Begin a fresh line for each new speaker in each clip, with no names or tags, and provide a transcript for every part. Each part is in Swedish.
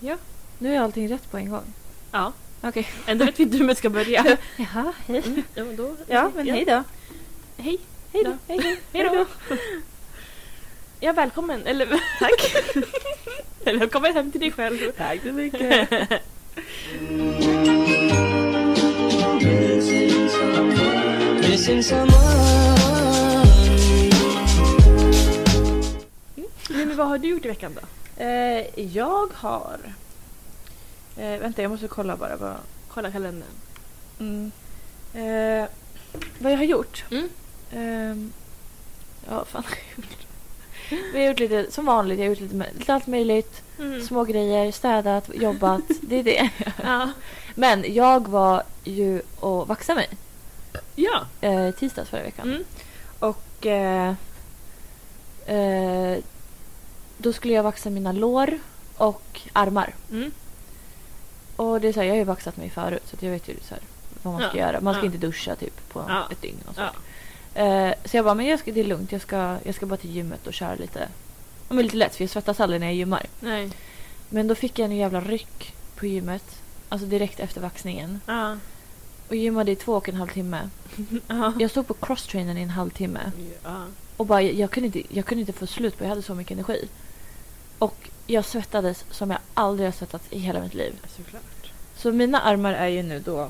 Ja. Nu är allting rätt på en gång.
Ja.
Okej.
Ändå vet vi inte hur man ska börja.
Jaha, hej.
Mm, ja, men då,
Ja, men hej då.
Hej.
Hej
Ja.
då. Hej då.
Hej då. Ja, välkommen. Eller tack. Eller välkommen hem till dig själv.
Tack så mycket.
Missing someone.
Nej, men vad har du gjort i veckan då?
Eh, jag har... Eh, vänta, jag måste kolla bara vad...
Kolla kalendern.
Mm. Eh, vad jag har gjort?
Mm.
Ehm, ja, vad fan har jag gjort? Vi har gjort lite, som vanligt, jag har gjort lite, lite allt möjligt.
Mm.
Små grejer, städat, jobbat. det är det.
Ja.
Men jag var ju och vaxade mig
ja.
eh, tisdags förra veckan.
Mm.
Och eh, eh, då skulle jag vaxa mina lår och armar.
Mm.
Och det är så här, jag har ju vaxat mig förut så att jag vet ju så här, vad man ska
Ja,
göra. Man ska
ja.
inte duscha typ på
Ja,
ett dygn. Och så.
ja.
Eh, så jag bara, men jag ska, det är lugnt. Jag ska, jag ska bara till gymmet och köra lite. Ja, men lite lätt för jag svettas aldrig när jag gymmar.
Nej.
Men då fick jag en jävla ryck på gymmet. Alltså direkt efter vaxningen.
Ja.
Och gymmade i två och en halv timme.
Ja.
Jag stod på crosstrainern i en halvtimme.
Ja.
Och bara, jag, jag, kunde inte, jag kunde inte få slut på Jag hade så mycket energi. Och jag svettades som jag aldrig har svettats i hela mitt liv.
Såklart.
Så mina armar är ju nu då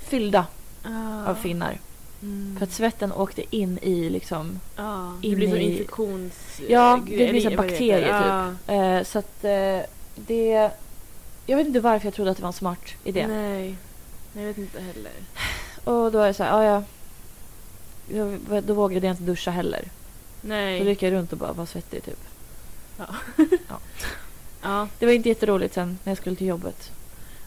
fyllda
Ja.
av finnar.
Mm.
För att svetten åkte in i liksom...
Ja. Det
in
blir så
i-
infektions...
Ja, det
eller
blir så
vad heter
bakterier,
det? Ja.
Eh, så att eh, det... Jag vet inte varför jag trodde att det var en smart idé.
Nej. Nej, jag vet inte heller.
Och då är det så här, "Ah, ja, jag, jag, då vågade jag inte duscha heller.
Nej.
Då gick jag runt och bara var svettig typ.
Ja.
Det var inte jätteroligt sen när jag skulle till jobbet.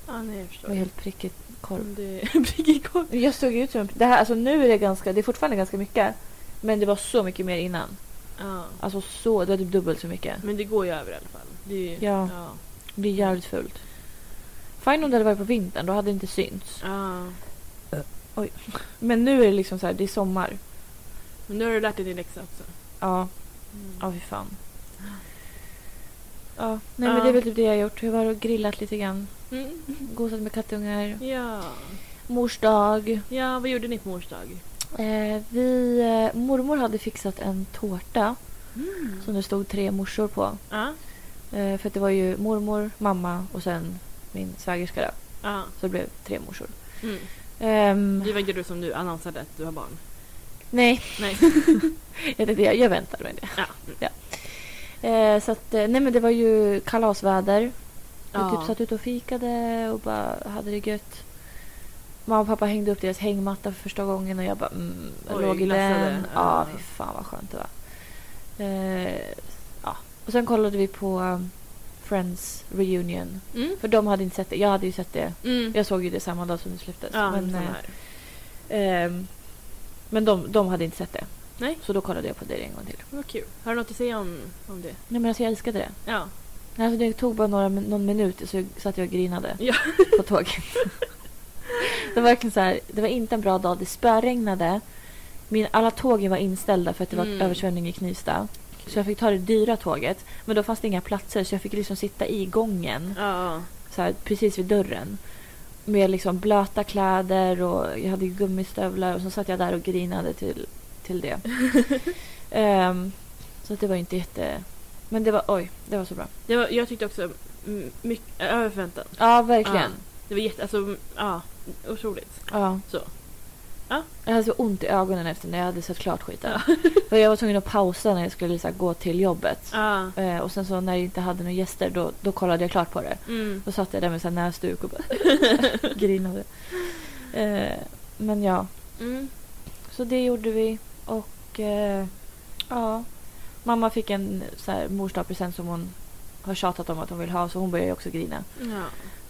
Ja, nej jag
Det
förstår.
var helt prickigt korv.
Om det prickar igång.
Jag såg ut som det här, alltså nu är det ganska, det är fortfarande ganska mycket. Men det var så mycket mer innan.
Ja.
Alltså så, det var typ dubbelt så mycket.
Men det går ju över i alla fall. Det är ju,
Ja.
Ja.
Det är jävligt fult. Fine om det hade varit på vintern, då hade det inte synts.
ja.
Men nu är det liksom så här, det är sommar.
Men nu har du lärt dig din läxa också.
Ja,
Mm.
ja fy fan. Ja, nej
Ja.
men det är väl typ det jag har gjort. Jag har varit och grillat lite grann.
Mm.
Gosat med kattungar.
Ja.
Mors dag.
ja, vad gjorde ni på mors dag?
Eh, vi, eh, mormor hade fixat en tårta
Mm.
som det stod tre morsor på.
Ja.
Eh, för att det var ju mormor, mamma och sen min svägerska. Då.
ja.
Så det blev tre morsor.
Mm.
Ehm,
Det var inte du som nu annonsade att du har barn.
nej,
Nej.
jag, tänkte, jag, jag väntar med det.
Ja.
Eh, så att, eh, nej men det var ju kalasväder. Vi
Ja.
typ satt ute och fikade och bara hade det gött. Mamma och pappa hängde upp deras hängmatta för första gången och jag bara mm, jag
Oj,
låg i
glassade.
den. Ja,
Ja.
fy fan vad skönt det var. Eh, ja. Och sen kollade vi på um, Friends reunion.
Mm.
För de hade inte sett det. Jag hade ju sett det.
Mm.
Jag såg ju det samma dag som det släpptes.
Ja,
men
men,
eh,
här.
ehm, men de, de hade inte sett det.
Nej.
Så då kollade jag på det en gång till.
Vad kul. Har du något att säga om, om det?
Nej, men alltså, jag älskade det.
Ja.
Nej, Alltså, det tog bara några, min- någon minut så jag, satt jag och grinade
Ja.
på tåget. det, var verkligen så här, det var inte en bra dag. Det spöregnade. Min, alla tågen var inställda för att det var
Mm.
översvämning i Knivsta. Så jag fick ta det dyra tåget. Men då fanns det inga platser så jag fick liksom sitta i gången.
Ja.
så här, precis vid dörren. Med liksom blöta kläder och jag hade ju gummistövlar och så satt jag där och grinade till, till det. Ehm, så att det var ju inte jätte... Men det var, oj, det var så bra.
Det var, jag tyckte också mm, mycket, över förväntan.
Ja, verkligen.
Det var jätte, alltså, ja, otroligt.
Ja.
Så. Ja.
Jag hade så ont i ögonen efter när jag hade sett klart skiten.
Ja.
För jag var tvungen att pausa när jag skulle så här, gå till jobbet.
Ja.
Eh, och sen så när jag inte hade några gäster då, då kollade jag klart på det.
Mm.
Då satt jag där med så här näsduk och bara grinade. Eh, men ja,
Mm.
Så det gjorde vi. Och eh, ja, mamma fick en så här, morsdagspresent som hon har tjatat om att hon vill ha så hon började ju också grina.
Ja.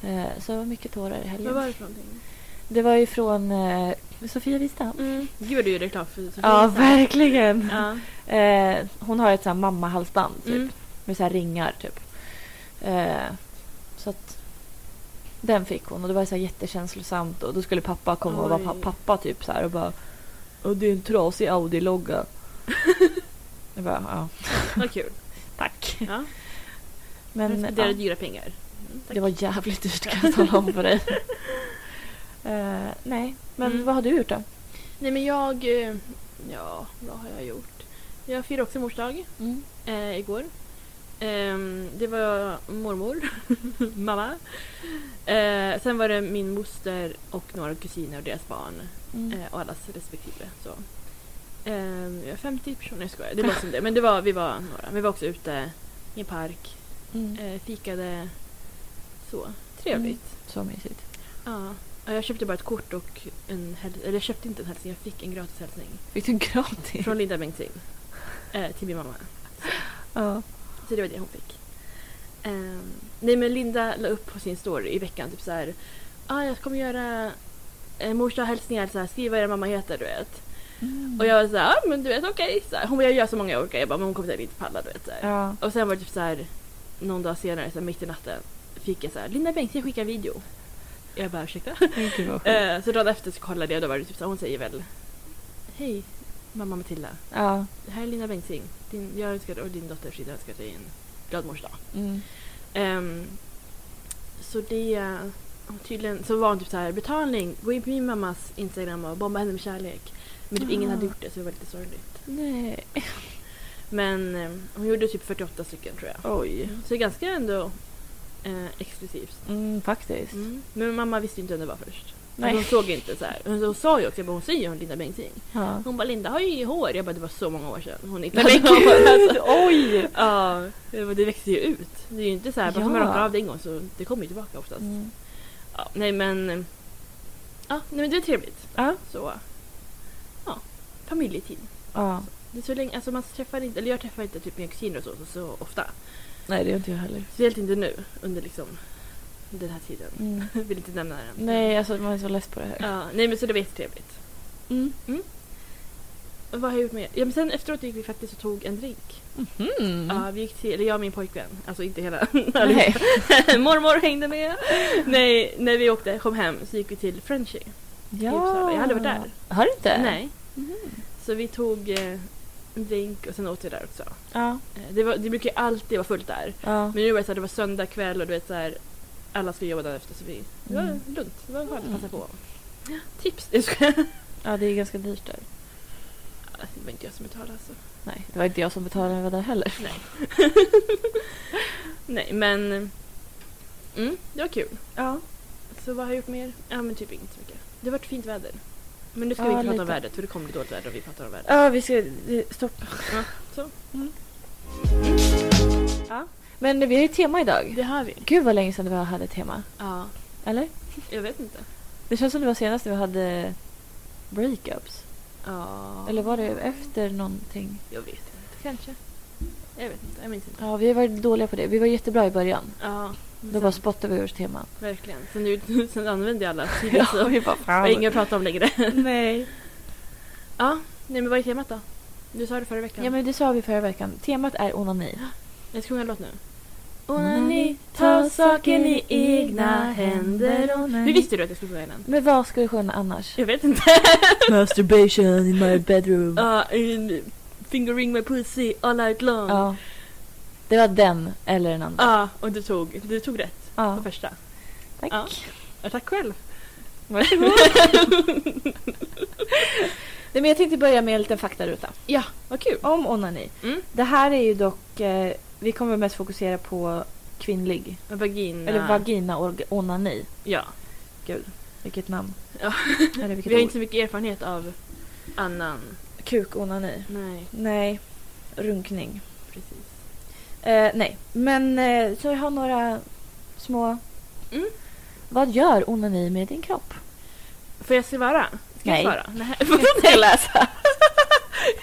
Eh, så det var mycket tårar i helgen.
Vad var det för någonting?
Det var ju från eh, Sofia Wistam.
Mm. Gud, du gjorde reklam för Sofia.
Ja, verkligen.
Ja.
Eh, hon har ett så här mammahalsband typ,
Mm.
med så här ringar typ. Eh, så att den fick hon och det var så här jättekänslosamt och då skulle pappa komma och vara
Oj.
pa- pappa typ så här och bara och det är en trasig Audi-logga. jag bara, ja,
Vad kul.
tack.
Ja.
Men,
Spenderade
ja.
dyra pengar. Mm, tack.
Det var jävligt dyrt kan jag tala om för dig. Eh, nej, men
Mm.
vad har du gjort då?
Nej men jag... eh, Ja, vad har jag gjort? Jag firade också mors dag eh, igår. Ehm, det var mormor, mamma. Eh, sen var det min moster och några kusiner och deras barn.
Mm.
Eh, och allas respektive. Så. Ehm, vi var 50 personer, jag skojar. Det var som det. Men det var, vi var några. Vi var också ute i en park.
Mm.
Eh, fikade. Så. Trevligt.
Så mysigt. Mm.
Ja. Ja, Jag köpte bara ett kort och en häls- Eller jag köpte inte en hälsning, jag fick en gratis hälsning.
Fick du gratis?
Från Linda Bengtzing. Eh, till min mamma.
Ja.
Så det var det hon fick. Ehm, nej men Linda la upp på sin story i veckan typ så här. Ah, jag kommer göra eh, morsdag-hälsningar, så här, skriv vad er mamma heter du vet.
Mm.
Och jag var så här, ah, men du vet okej. så här. Hon bara, jag gör så många jag orkar. Jag bara, men hon kommer säkert inte palla du vet. Så här.
Ja.
Och sen var det typ så här någon dag senare, så här, mitt i natten, fick jag så här, Linda Bengtzing skickar en video. Jag bara ursäkta?
Men gud vad sjukt.
Eh, så dagen efter så kollade jag och då var det typ så här, hon säger väl Hej mamma Matilda.
Ja.
Det här är Lina Bengtzing. Din, jag önskar och din dotter Frida önskar dig en glad mors dag.
Mm.
Ehm, så det... eh, Tydligen så var hon typ så här betalning. Gå in på min mammas Instagram och bomba henne med kärlek. Men typ ingen
Ah.
hade gjort det så det var lite sorgligt.
Nej.
Men eh, hon gjorde typ 48 stycken tror jag.
Oj.
Så det är ganska ändå eh, exklusivt.
Mm, faktiskt.
Mm. Men mamma visste ju inte vem det var först.
Nej.
Hon såg inte så här. Hon, hon sa ju också, jag bara, hon säger ju hon Linda Bengtzing.
Ja.
Hon bara Linda har ju hår. Jag bara det var så många år sedan. Hon inte
Nej men
hade hår. Alltså.
gud! Oj!
Ja, det var- det växer ju ut. Det är ju inte så här bara för man
Ja.
rakar av det en gång så det kommer ju tillbaka oftast.
Mm.
Ja, nej men... eh, Ja, nej men det är trevligt.
Ja.
Så... Ja, familjetid.
Ja.
Det är så länge, alltså man träffar inte, eller jag träffar inte typ mina kusiner och så, så, så ofta.
Nej det gör inte jag heller.
Speciellt inte nu under liksom den här tiden.
Mm.
Jag vill inte nämna den.
Nej alltså man är så less på det här.
Ja, nej men så det var jättetrevligt.
Mm.
Vad har jag gjort med? Ja, men sen efteråt gick vi faktiskt och tog en drink.
Mm.
Ja, vi gick till, eller jag och min pojkvän, alltså inte hela
Nej.
Mormor hängde med. Nej, när vi åkte, kom hem så gick vi till Frenchy. i
Typ
Uppsala. Jag har aldrig varit
Har du inte?
Nej.
Mhm.
Så vi tog eh, en drink och sen åt vi där också.
Ja.
Eh, Det, var, det brukar ju alltid vara fullt där.
Ja.
Men nu var det så här, det var söndag kväll och du vet så här, alla skulle jobba dagen efter så vi, det var
Mm.
lugnt. Det var skönt att passa på.
Mm.
Tips! Jag skojar.
Ja det är ganska dyrt där.
Det var inte jag som betalade alltså.
Nej det var inte jag som betalade när jag var där heller.
Nej men... eh, Mm, det var kul.
Ja.
Så vad har jag gjort mer? Ja men typ inte så mycket. Det har varit fint väder. Men nu ska
Ja,
vi inte prata om
lite.
vädret för det kommer bli dåligt väder om vi pratar om vädret.
Ja vi ska stopp.
Ja, så.
Men vi har ju tema idag.
Det har vi.
Gud vad länge sedan vi hade tema.
Ja,
Eller?
jag vet inte.
Det känns som det var senast vi hade breakups.
Ja.
Eller var det efter någonting?
Jag vet inte. Kanske. Jag vet inte. Jag minns inte.
Ja, vi har varit dåliga på det. Vi var jättebra i början.
Ja. men
Då
sen-
bara spottade vi ur teman.
Verkligen. Så nu sen använder jag alla sidor
Ja,
så
vi bara
jag har
fan.
inget att prata om längre.
Nej.
Ja, nej men vad är temat då? Du sa det förra veckan.
Ja, men det sa vi förra veckan. Temat är onani.
Jag ska sjunga en låt nu.
Mm. Onani,
ta saken i egna händer. Hur visste du att jag skulle sjunga den?
Men vad ska du sjunga annars?
Jag vet inte.
Masturbation in my bedroom.
Ja, in- fingering my pussy all night long. Ja,
Ja. Det var den eller en annan.
och du tog, du tog rätt på
Ja.
första.
Tack.
Ja. Ja, tack själv.
Varsågod. Nej, men jag tänkte börja med en liten faktaruta.
Ja, vad kul.
Om onani.
Mm.
Det här är ju dock... Eh, vi kommer mest fokusera på kvinnlig
Vagina.
Eller vagina och onani.
Ja.
Gud, vilket namn.
Ja.
Eller vilket
Vi har
ord.
inte så mycket erfarenhet av annan.
Kukonani.
Nej,
Nej. Runkning.
precis.
Eh, nej, men eh, så jag har några små...
Mm.
Vad gör onani med din kropp?
Får jag svara? Ska
Nej.
jag svara? Nej. Får jag läsa?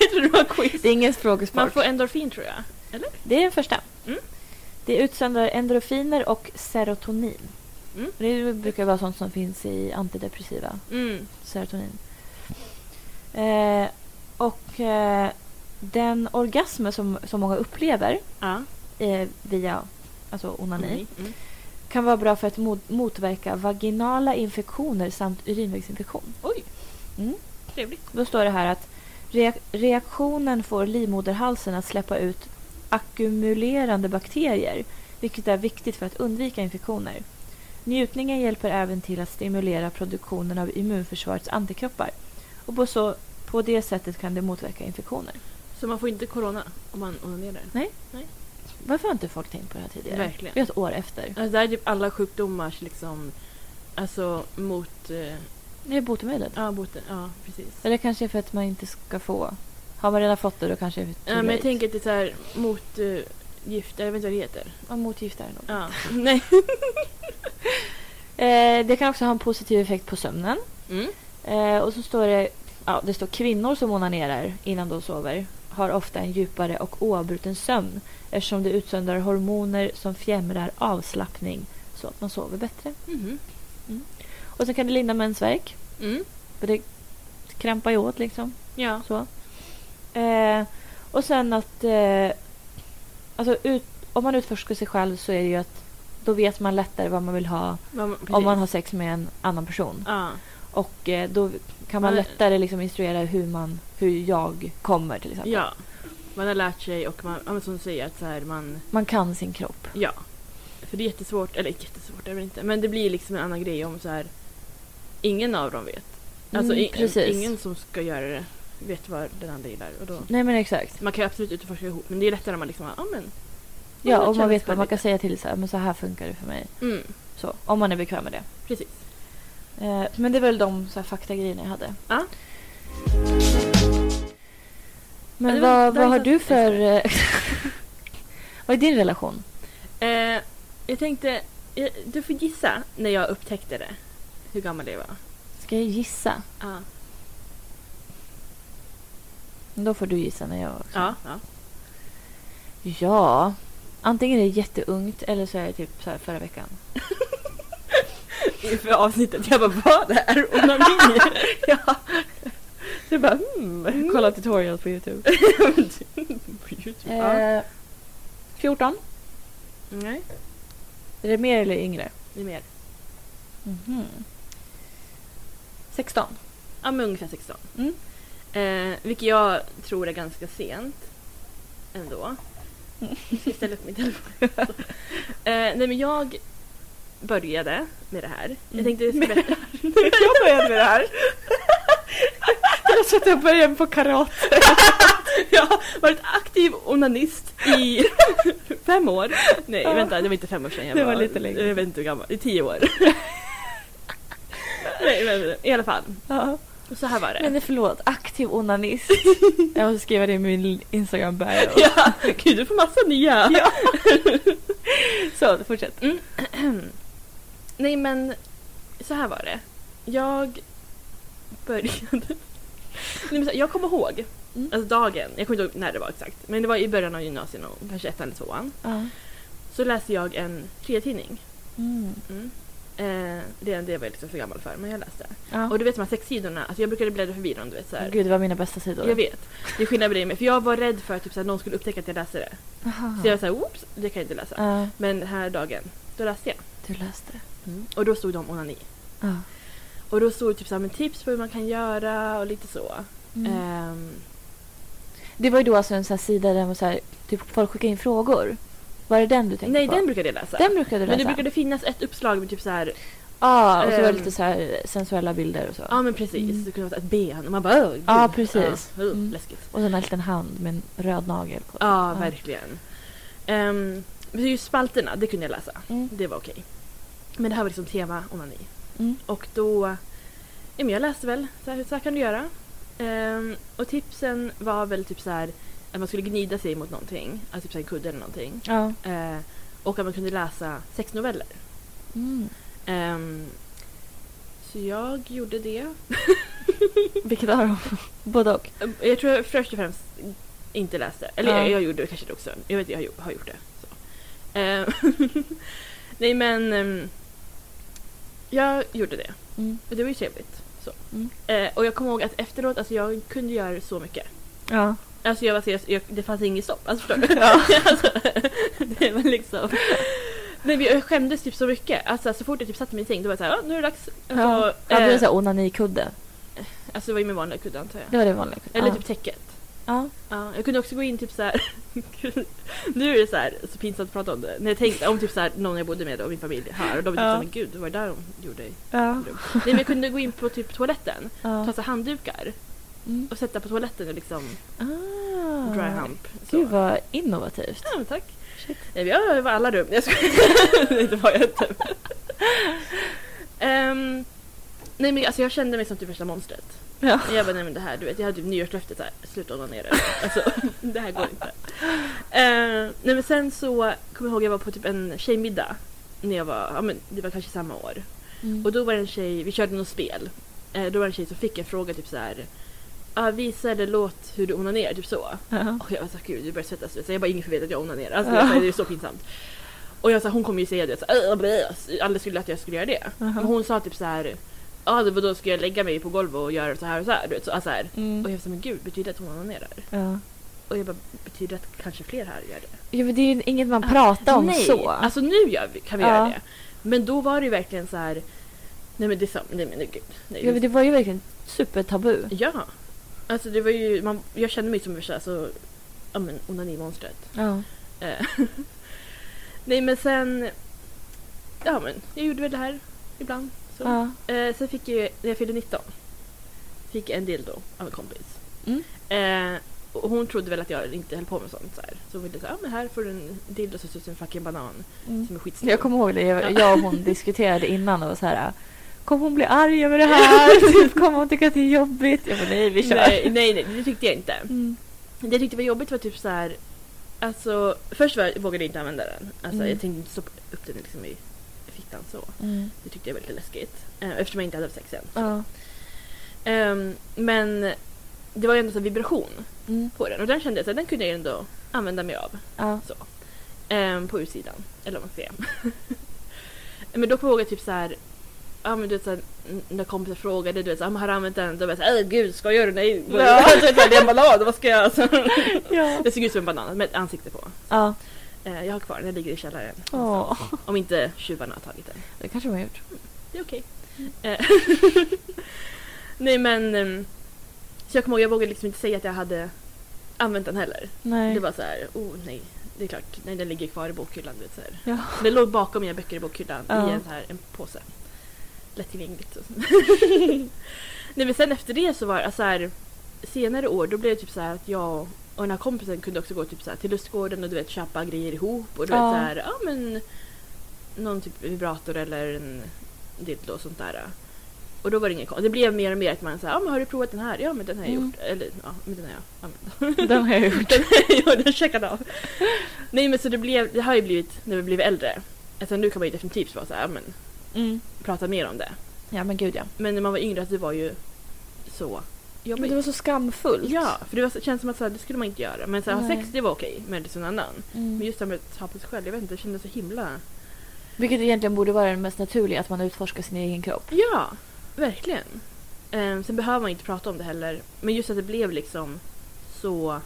jag tror det var quiz.
Det är ingen
Man
frågesport.
får endorfin tror jag.
Det är den första.
Mm.
Det utsöndrar endorfiner och serotonin.
Mm.
Det brukar vara sånt som finns i antidepressiva.
Mm.
serotonin. Eh, och eh, den orgasm som, som många upplever
Ja.
eh, via alltså onani
Mm. Mm.
kan vara bra för att mot, motverka vaginala infektioner samt urinvägsinfektion.
Oj,
Mm.
trevligt.
Då står det här att reak- reaktionen får livmoderhalsen att släppa ut ackumulerande bakterier vilket är viktigt för att undvika infektioner. Njutningen hjälper även till att stimulera produktionen av immunförsvarets antikroppar och på, så, på det sättet kan det motverka infektioner.
Så man får inte corona om man onanerar?
Varför har inte folk tänkt på det här tidigare?
Verkligen.
Vi har ett år efter.
Alltså, det här är typ alla sjukdomars liksom... Alltså mot... eh,
Det är botemedlet.
Ja, boten. Ja, precis.
Eller kanske för att man inte ska få... Har man redan fått det då kanske det är too
Ja, men jag
late.
tänker att det är så här mot eh, gifter, jag vet inte vad det heter.
Ja, motgift är det nog.
Ja. Nej.
Eh, det kan också ha en positiv effekt på sömnen.
Mm.
Eh, och så står det, ja, det står kvinnor som onanerar innan de sover har ofta en djupare och oavbruten sömn eftersom det utsöndrar hormoner som fjämrar avslappning så att man sover bättre.
Mhm.
Och sen kan det lindra mensvärk.
Mm.
För det krampar ju åt liksom.
Ja.
Så. Eh, och sen att... Eh, alltså ut, om man utforskar sig själv så är det ju att då vet man lättare vad man vill ha
Vad man-
om
precis.
man har sex med en annan person.
Ja.
Och eh, då kan man
Man-
lättare liksom instruera hur, man, hur jag kommer till exempel.
ja. Man har lärt sig och man, ja, men som du säger, att så här, man...
Man kan sin kropp.
Ja. För det är jättesvårt, eller jättesvårt är det väl inte, men det blir liksom en annan grej om så här... Ingen av dem vet. Alltså
Mm,
i- ingen som ska göra det vet vad den andra gillar. Och då,
Nej men exakt.
man kan ju absolut utforska ihop, men det är lättare när man liksom, ja men...
Ja, och
känner
man vet
sig
bara, man kan
lite.
säga till så här, men så här funkar det för mig.
Mm,
Så, om man är bekväm med det.
precis.
Eh, men det var väl de så här, faktagrejerna jag hade.
Ja.
Men
Ja, det var-
vad,
där
vad har
satt-
du för... eh, vad är din relation?
Eh, jag tänkte, eh, du får gissa när jag upptäckte det. Hur gammal jag var.
Ska jag gissa?
Ja.
Då får du gissa när jag också.
Ja. ja.
Ja. Antingen är det jätteungt eller så är det typ så här förra veckan.
Inför avsnittet, jag bara vad är onani? ja. Du bara hmm.
Kolla tutorials på Youtube.
På YouTube. Ja.
Eh, 14.
Nej,
Är det mer eller yngre?
det är mer.
Mhm. 16.
Ja men ungefär 16.
Mm.
Eh, vilket jag tror är ganska sent. Ändå. Jag ska ställa upp min telefon. eh, nej men jag började med det här. Jag
Mm.
tänkte jag ska berätta.
Jag började med det här. Jag tror att jag började på karat.
Jag har varit aktiv onanist i fem år. Nej
Ja.
vänta, det var inte fem år sedan. Jag
Det var lite längre.
Jag vet inte hur gammal. I tio år. nej men i alla fall.
Ja.
Så här var det.
Men förlåt, aktiv onanist. Jag måste skriva det i min instagram bio
ja, gud du får massa nya.
Så, fortsätt.
Nej men så här var det. Jag började... Nej, men så här, jag kommer ihåg
Mm.
alltså dagen, jag kommer inte ihåg när det var exakt, men det var i början av gymnasiet och kanske ettan eller tvåan.
Ja.
Så läste jag en friatidning.
Mm.
Mm. Eh, det, det var jag liksom för gammal för, men jag läste.
Ja.
Och du vet de här sexsidorna, alltså jag brukade bläddra förbi dem. Du vet, så här.
Gud, det var mina bästa sidor.
Jag vet. Det är skillnad på dig och mig, för jag var rädd för att typ, så här, någon skulle upptäcka att jag läste det.
Aha.
Så jag var såhär, oops, det kan jag inte läsa.
Ja,
Men den här dagen, då läste jag.
du läste.
Och då stod det om onani.
Ja.
Och då stod det typ så här, men tips på hur man kan göra och lite så.
Mm.
Ehm,
Det var ju då alltså en sån här sida där man så här, typ folk skickade in frågor. Var det den du tänkte
nej,
på?
den brukade jag läsa.
den brukade du
men
läsa?
det brukade finnas ett uppslag med typ så här,
Ja, och så var det
Ehm.
lite så här sensuella bilder och så.
ja men precis,
Mm.
det kunde vara ett ben och man bara "Åh, gud."
Ja, precis.
Ja, uh,
Mm.
Läskigt.
Och sen en liten hand med en röd nagel på.
Ja, verkligen. Um, men just spalterna, det kunde jag läsa.
Mm.
Det var okej. Men det här var liksom tema onani.
Mm.
Och då... Ja, men jag läste väl, så här, så här kan du göra. Ehm, och tipsen var väl typ så här att man skulle gnida sig mot någonting, alltså typ så här en kudde eller någonting.
Ja.
Eh, och att man kunde läsa sexnoveller.
Mm.
Ehm, så jag gjorde det.
Vilket av dem? Både och.
Ehm, Jag tror jag först och främst inte läste. Eller
Ja.
jag, jag gjorde det kanske det också. Jag vet jag har gjo- har gjort det. Så. Ehm, Nej men ehm, jag gjorde det.
Mm.
Och det var ju trevligt. Så.
Mm.
Eh, och jag kommer ihåg att efteråt, alltså jag kunde göra så mycket.
Ja.
Alltså jag var seriös, jag, det fanns inget stopp. Alltså förstår du? alltså, det var liksom... Nej, men jag skämdes typ så mycket. Alltså så fort jag typ satte mig i säng då var jag såhär, "Ja, nu är det dags.
ja.
Alltså,
Hade
eh,
du så här onanikudde?
alltså det var ju min vanliga kudde antar jag.
Det var det vanliga kudden.
Eller
ja.
typ täcket.
Ja.
Ja, jag kunde också gå in typ så här. Gud, nu är det så här så pinsamt att prata om det. När jag tänkte om typ så här, någon jag bodde med och min familj här och de var typ
Ja.
såhär, men gud, vad var det där de gjorde? i
Ja.
rum?" Nej men jag kunde gå in på typ toaletten, ta
ja.
så här handdukar
Mm.
och sätta på toaletten och liksom
Ah.
dry hump. Så.
Gud vad innovativt.
Ja men tack. Eh, Nej, vi har över alla rum. Jag skojar. Nej, det var jag inte. Ehm, nej men alltså jag kände mig som typ värsta monstret.
Ja.
Jag bara nej men det här, du vet jag hade typ nyårslöfte såhär, sluta onanera. Alltså det här går inte. Ehm, nej men sen så kommer jag ihåg jag var på typ en tjejmiddag. När jag var, ja men det var kanske samma år.
Mm.
Och då var det en tjej, vi körde något spel. Eh, då var det en tjej som fick en fråga typ så här. Ah, visa eller låt hur du onanerar, typ så.
Ja.
Och jag var så här, gud du börjar svettas. Så jag bara ingen får veta att jag onanerar. Alltså, det, är så här, det är så pinsamt. Och jag sa hon kommer ju säga det. Så, här, "Äh, blä." alla skulle att jag skulle göra det. Men hon sa typ så här. Ja ah, då ska jag lägga mig på golvet och göra så här och så här. Du vet, så, alltså, här. Och
Mm.
jag sa men gud betyder det att hon onanerar?
Ja.
Och jag bara betyder det att kanske fler här gör det?
Ja, men det är ju inget man pratar om
Nej,
så.
alltså nu gör vi, kan vi
Ja.
göra det. Men då var det ju verkligen så här. Nej men det är så, nej men gud. Nej,
ja, men det var ju verkligen supertabu.
ja. Alltså det var ju, man, jag kände mig som värsta alltså, ja men onanimonstret.
Ja.
Eh, Nej men sen... Ja men jag gjorde väl det här ibland. Så.
Ja.
Eh, sen fick jag, ju- när jag fyllde 19, fick jag en dildo av en kompis.
Mm.
Eh, och hon trodde väl att jag inte höll på med sånt. Så, här. så hon ville säga, ja men här får du en dildo som ser ut som en fucking banan.
Mm.
Som är skitstor.
Jag kommer ihåg det. Jag,
Ja.
jag och hon diskuterade innan och var så här. Kommer hon bli arg över det här? typ, kommer hon tycka att det är jobbigt? Jag bara, nej, vi kör.
nej, nej nej det tyckte jag inte.
Mm.
Det jag tyckte var jobbigt var typ så här. Alltså först var, vågade jag inte använda den. Alltså
Mm.
jag tänkte inte stoppa upp den liksom i fickan så.
Mm.
Det tyckte jag var lite läskigt. Eh, eftersom jag inte hade haft sex än.
Ja.
Ehm, men det var ju ändå så här vibration
Mm.
på den och den kände jag att den kunde jag ändå använda mig av
Ja.
ehm, på utsidan. Eller vad man säger. men då kommer jag ihåg att typ så här, ja men du vet så här, n- när kompisar frågade du vet så här, "Ah, men har du använt den? Då var jag såhär, gud ska jag göra det? Nej, vad-
Ja.
alltså, det är en ballad, vad ska jag? Alltså,
Ja.
det såg ut som en banan med ett ansikte på.
ja.
Eh, jag har kvar den, den ligger i källaren. någonstans.
Åh.
Om inte tjuvarna har tagit den.
Det kanske man har gjort.
Det är okej. Eh, Nej men... ehm, Så jag kommer ihåg, jag vågade liksom inte säga att jag hade använt den heller.
Nej.
Det var så här, oh nej. Det är klart, nej den ligger kvar i bokhyllan. Du vet, så här.
Ja.
Den låg bakom mina böcker i bokhyllan
Ja.
i en, så här, en påse. Lättillgängligt. så. nej men sen efter det så var alltså, så här, senare år då blev det typ så här att jag och den här kompisen kunde också gå typ så här, till lustgården och du vet köpa grejer ihop och du
Ja.
vet så här, ja men någon typ vibrator eller en dildo och sånt där. Och då var det ingen kon- Det blev mer och mer att man sa, ja men har du provat den här? Ja men den har jag
Mm.
gjort. Eller ja, men den har jag använt.
Den har jag gjort.
Den, ja, den checkade av. Nej men så det, blev, det har ju blivit när vi blivit äldre. Alltså nu kan man ju definitivt vara så här, ja, men,
Mm.
prata mer om det.
Ja men gud ja.
Men när man var yngre, alltså, det var ju så
Men
jobbigt.
det var så skamfullt.
Ja, för det, var, så- känns som att så här, det skulle man inte göra. Men så här, ha
Nej.
sex, det var okej med liksom någon annan.
Mm.
Men just det här med att ta på sig själv, jag vet inte, det kändes så himla...
Vilket egentligen borde vara det mest naturliga, att man utforskar sin egen kropp.
Ja, verkligen. Um, sen behöver man inte prata om det heller. Men just att det blev liksom så...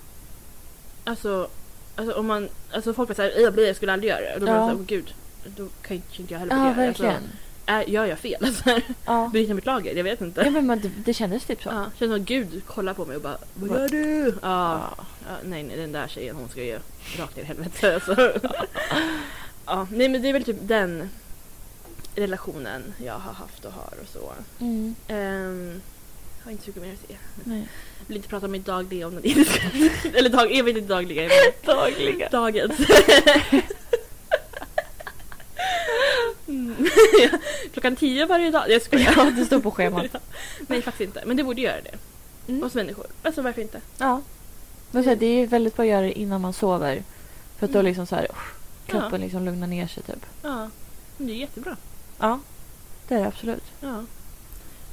Alltså, alltså om man... Alltså folk var såhär, jag, blir- jag skulle aldrig göra det. Och då
Ja.
var man såhär, "Åh, gud. Då kan ju inte jag heller
Ja,
börja göra det."
verkligen.
Alltså, är, gör jag fel? Alltså,
Ja.
bryter jag mitt lager? Jag vet
ja
inte.
men man, det, det kändes typ så.
Ja, känns som att Gud kollar på mig och bara, vad
Vad-
gör du? Ja. Ja, nej, nej, den där tjejen hon ska ju rakt ner i helvete. Alltså. ja, nej men det är väl typ den relationen jag har haft och har och så.
Mm.
Ehm, har inte så mycket mer att säga.
Nej.
Vill inte prata om mitt dagliga om någonting. Eller dag, jag vet inte dagliga. Men
Dagliga.
dagens. Mm. Klockan tio varje dag. Jag skojar.
Ja, det står på schemat.
Nej faktiskt inte. Men det borde göra det.
Mm.
Hos människor. Alltså varför inte?
Ja. Men så här, det är ju väldigt bra att göra det innan man sover. För att då
Mm.
liksom så här, uff, kroppen
Ja.
liksom lugnar ner sig typ.
Ja. Men Det är jättebra.
Ja. Det är det absolut.
Ja.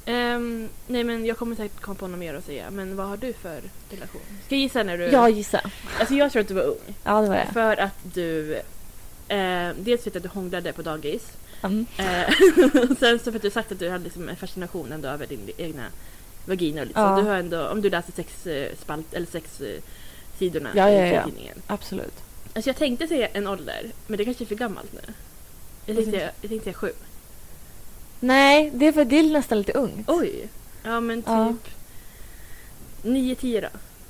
Ehm, nej men jag kommer säkert komma på något mer att säga. Men vad har du för relation? Ska jag gissa när du...
Jag gissar.
Alltså jag tror att du var ung.
Ja, det var det.
För att du... Eh, dels vet jag att du hånglade på dagis.
Mm.
Eh, sen så för att du sagt att du hade liksom en fascination ändå över din egna vagina. och Liksom.
Ja.
Du har ändå, om du läser sex eh, spalt eller sex eh, sidorna
Ja,
i
ja, ja.
tidningen.
Absolut.
Alltså jag tänkte säga en ålder, men det kanske är för gammalt nu. Jag
Vad
tänkte, jag tänkte säga sju.
Nej, det är för det är nästan lite ungt.
Oj! Ja men
Ja.
typ... Nio, tio då.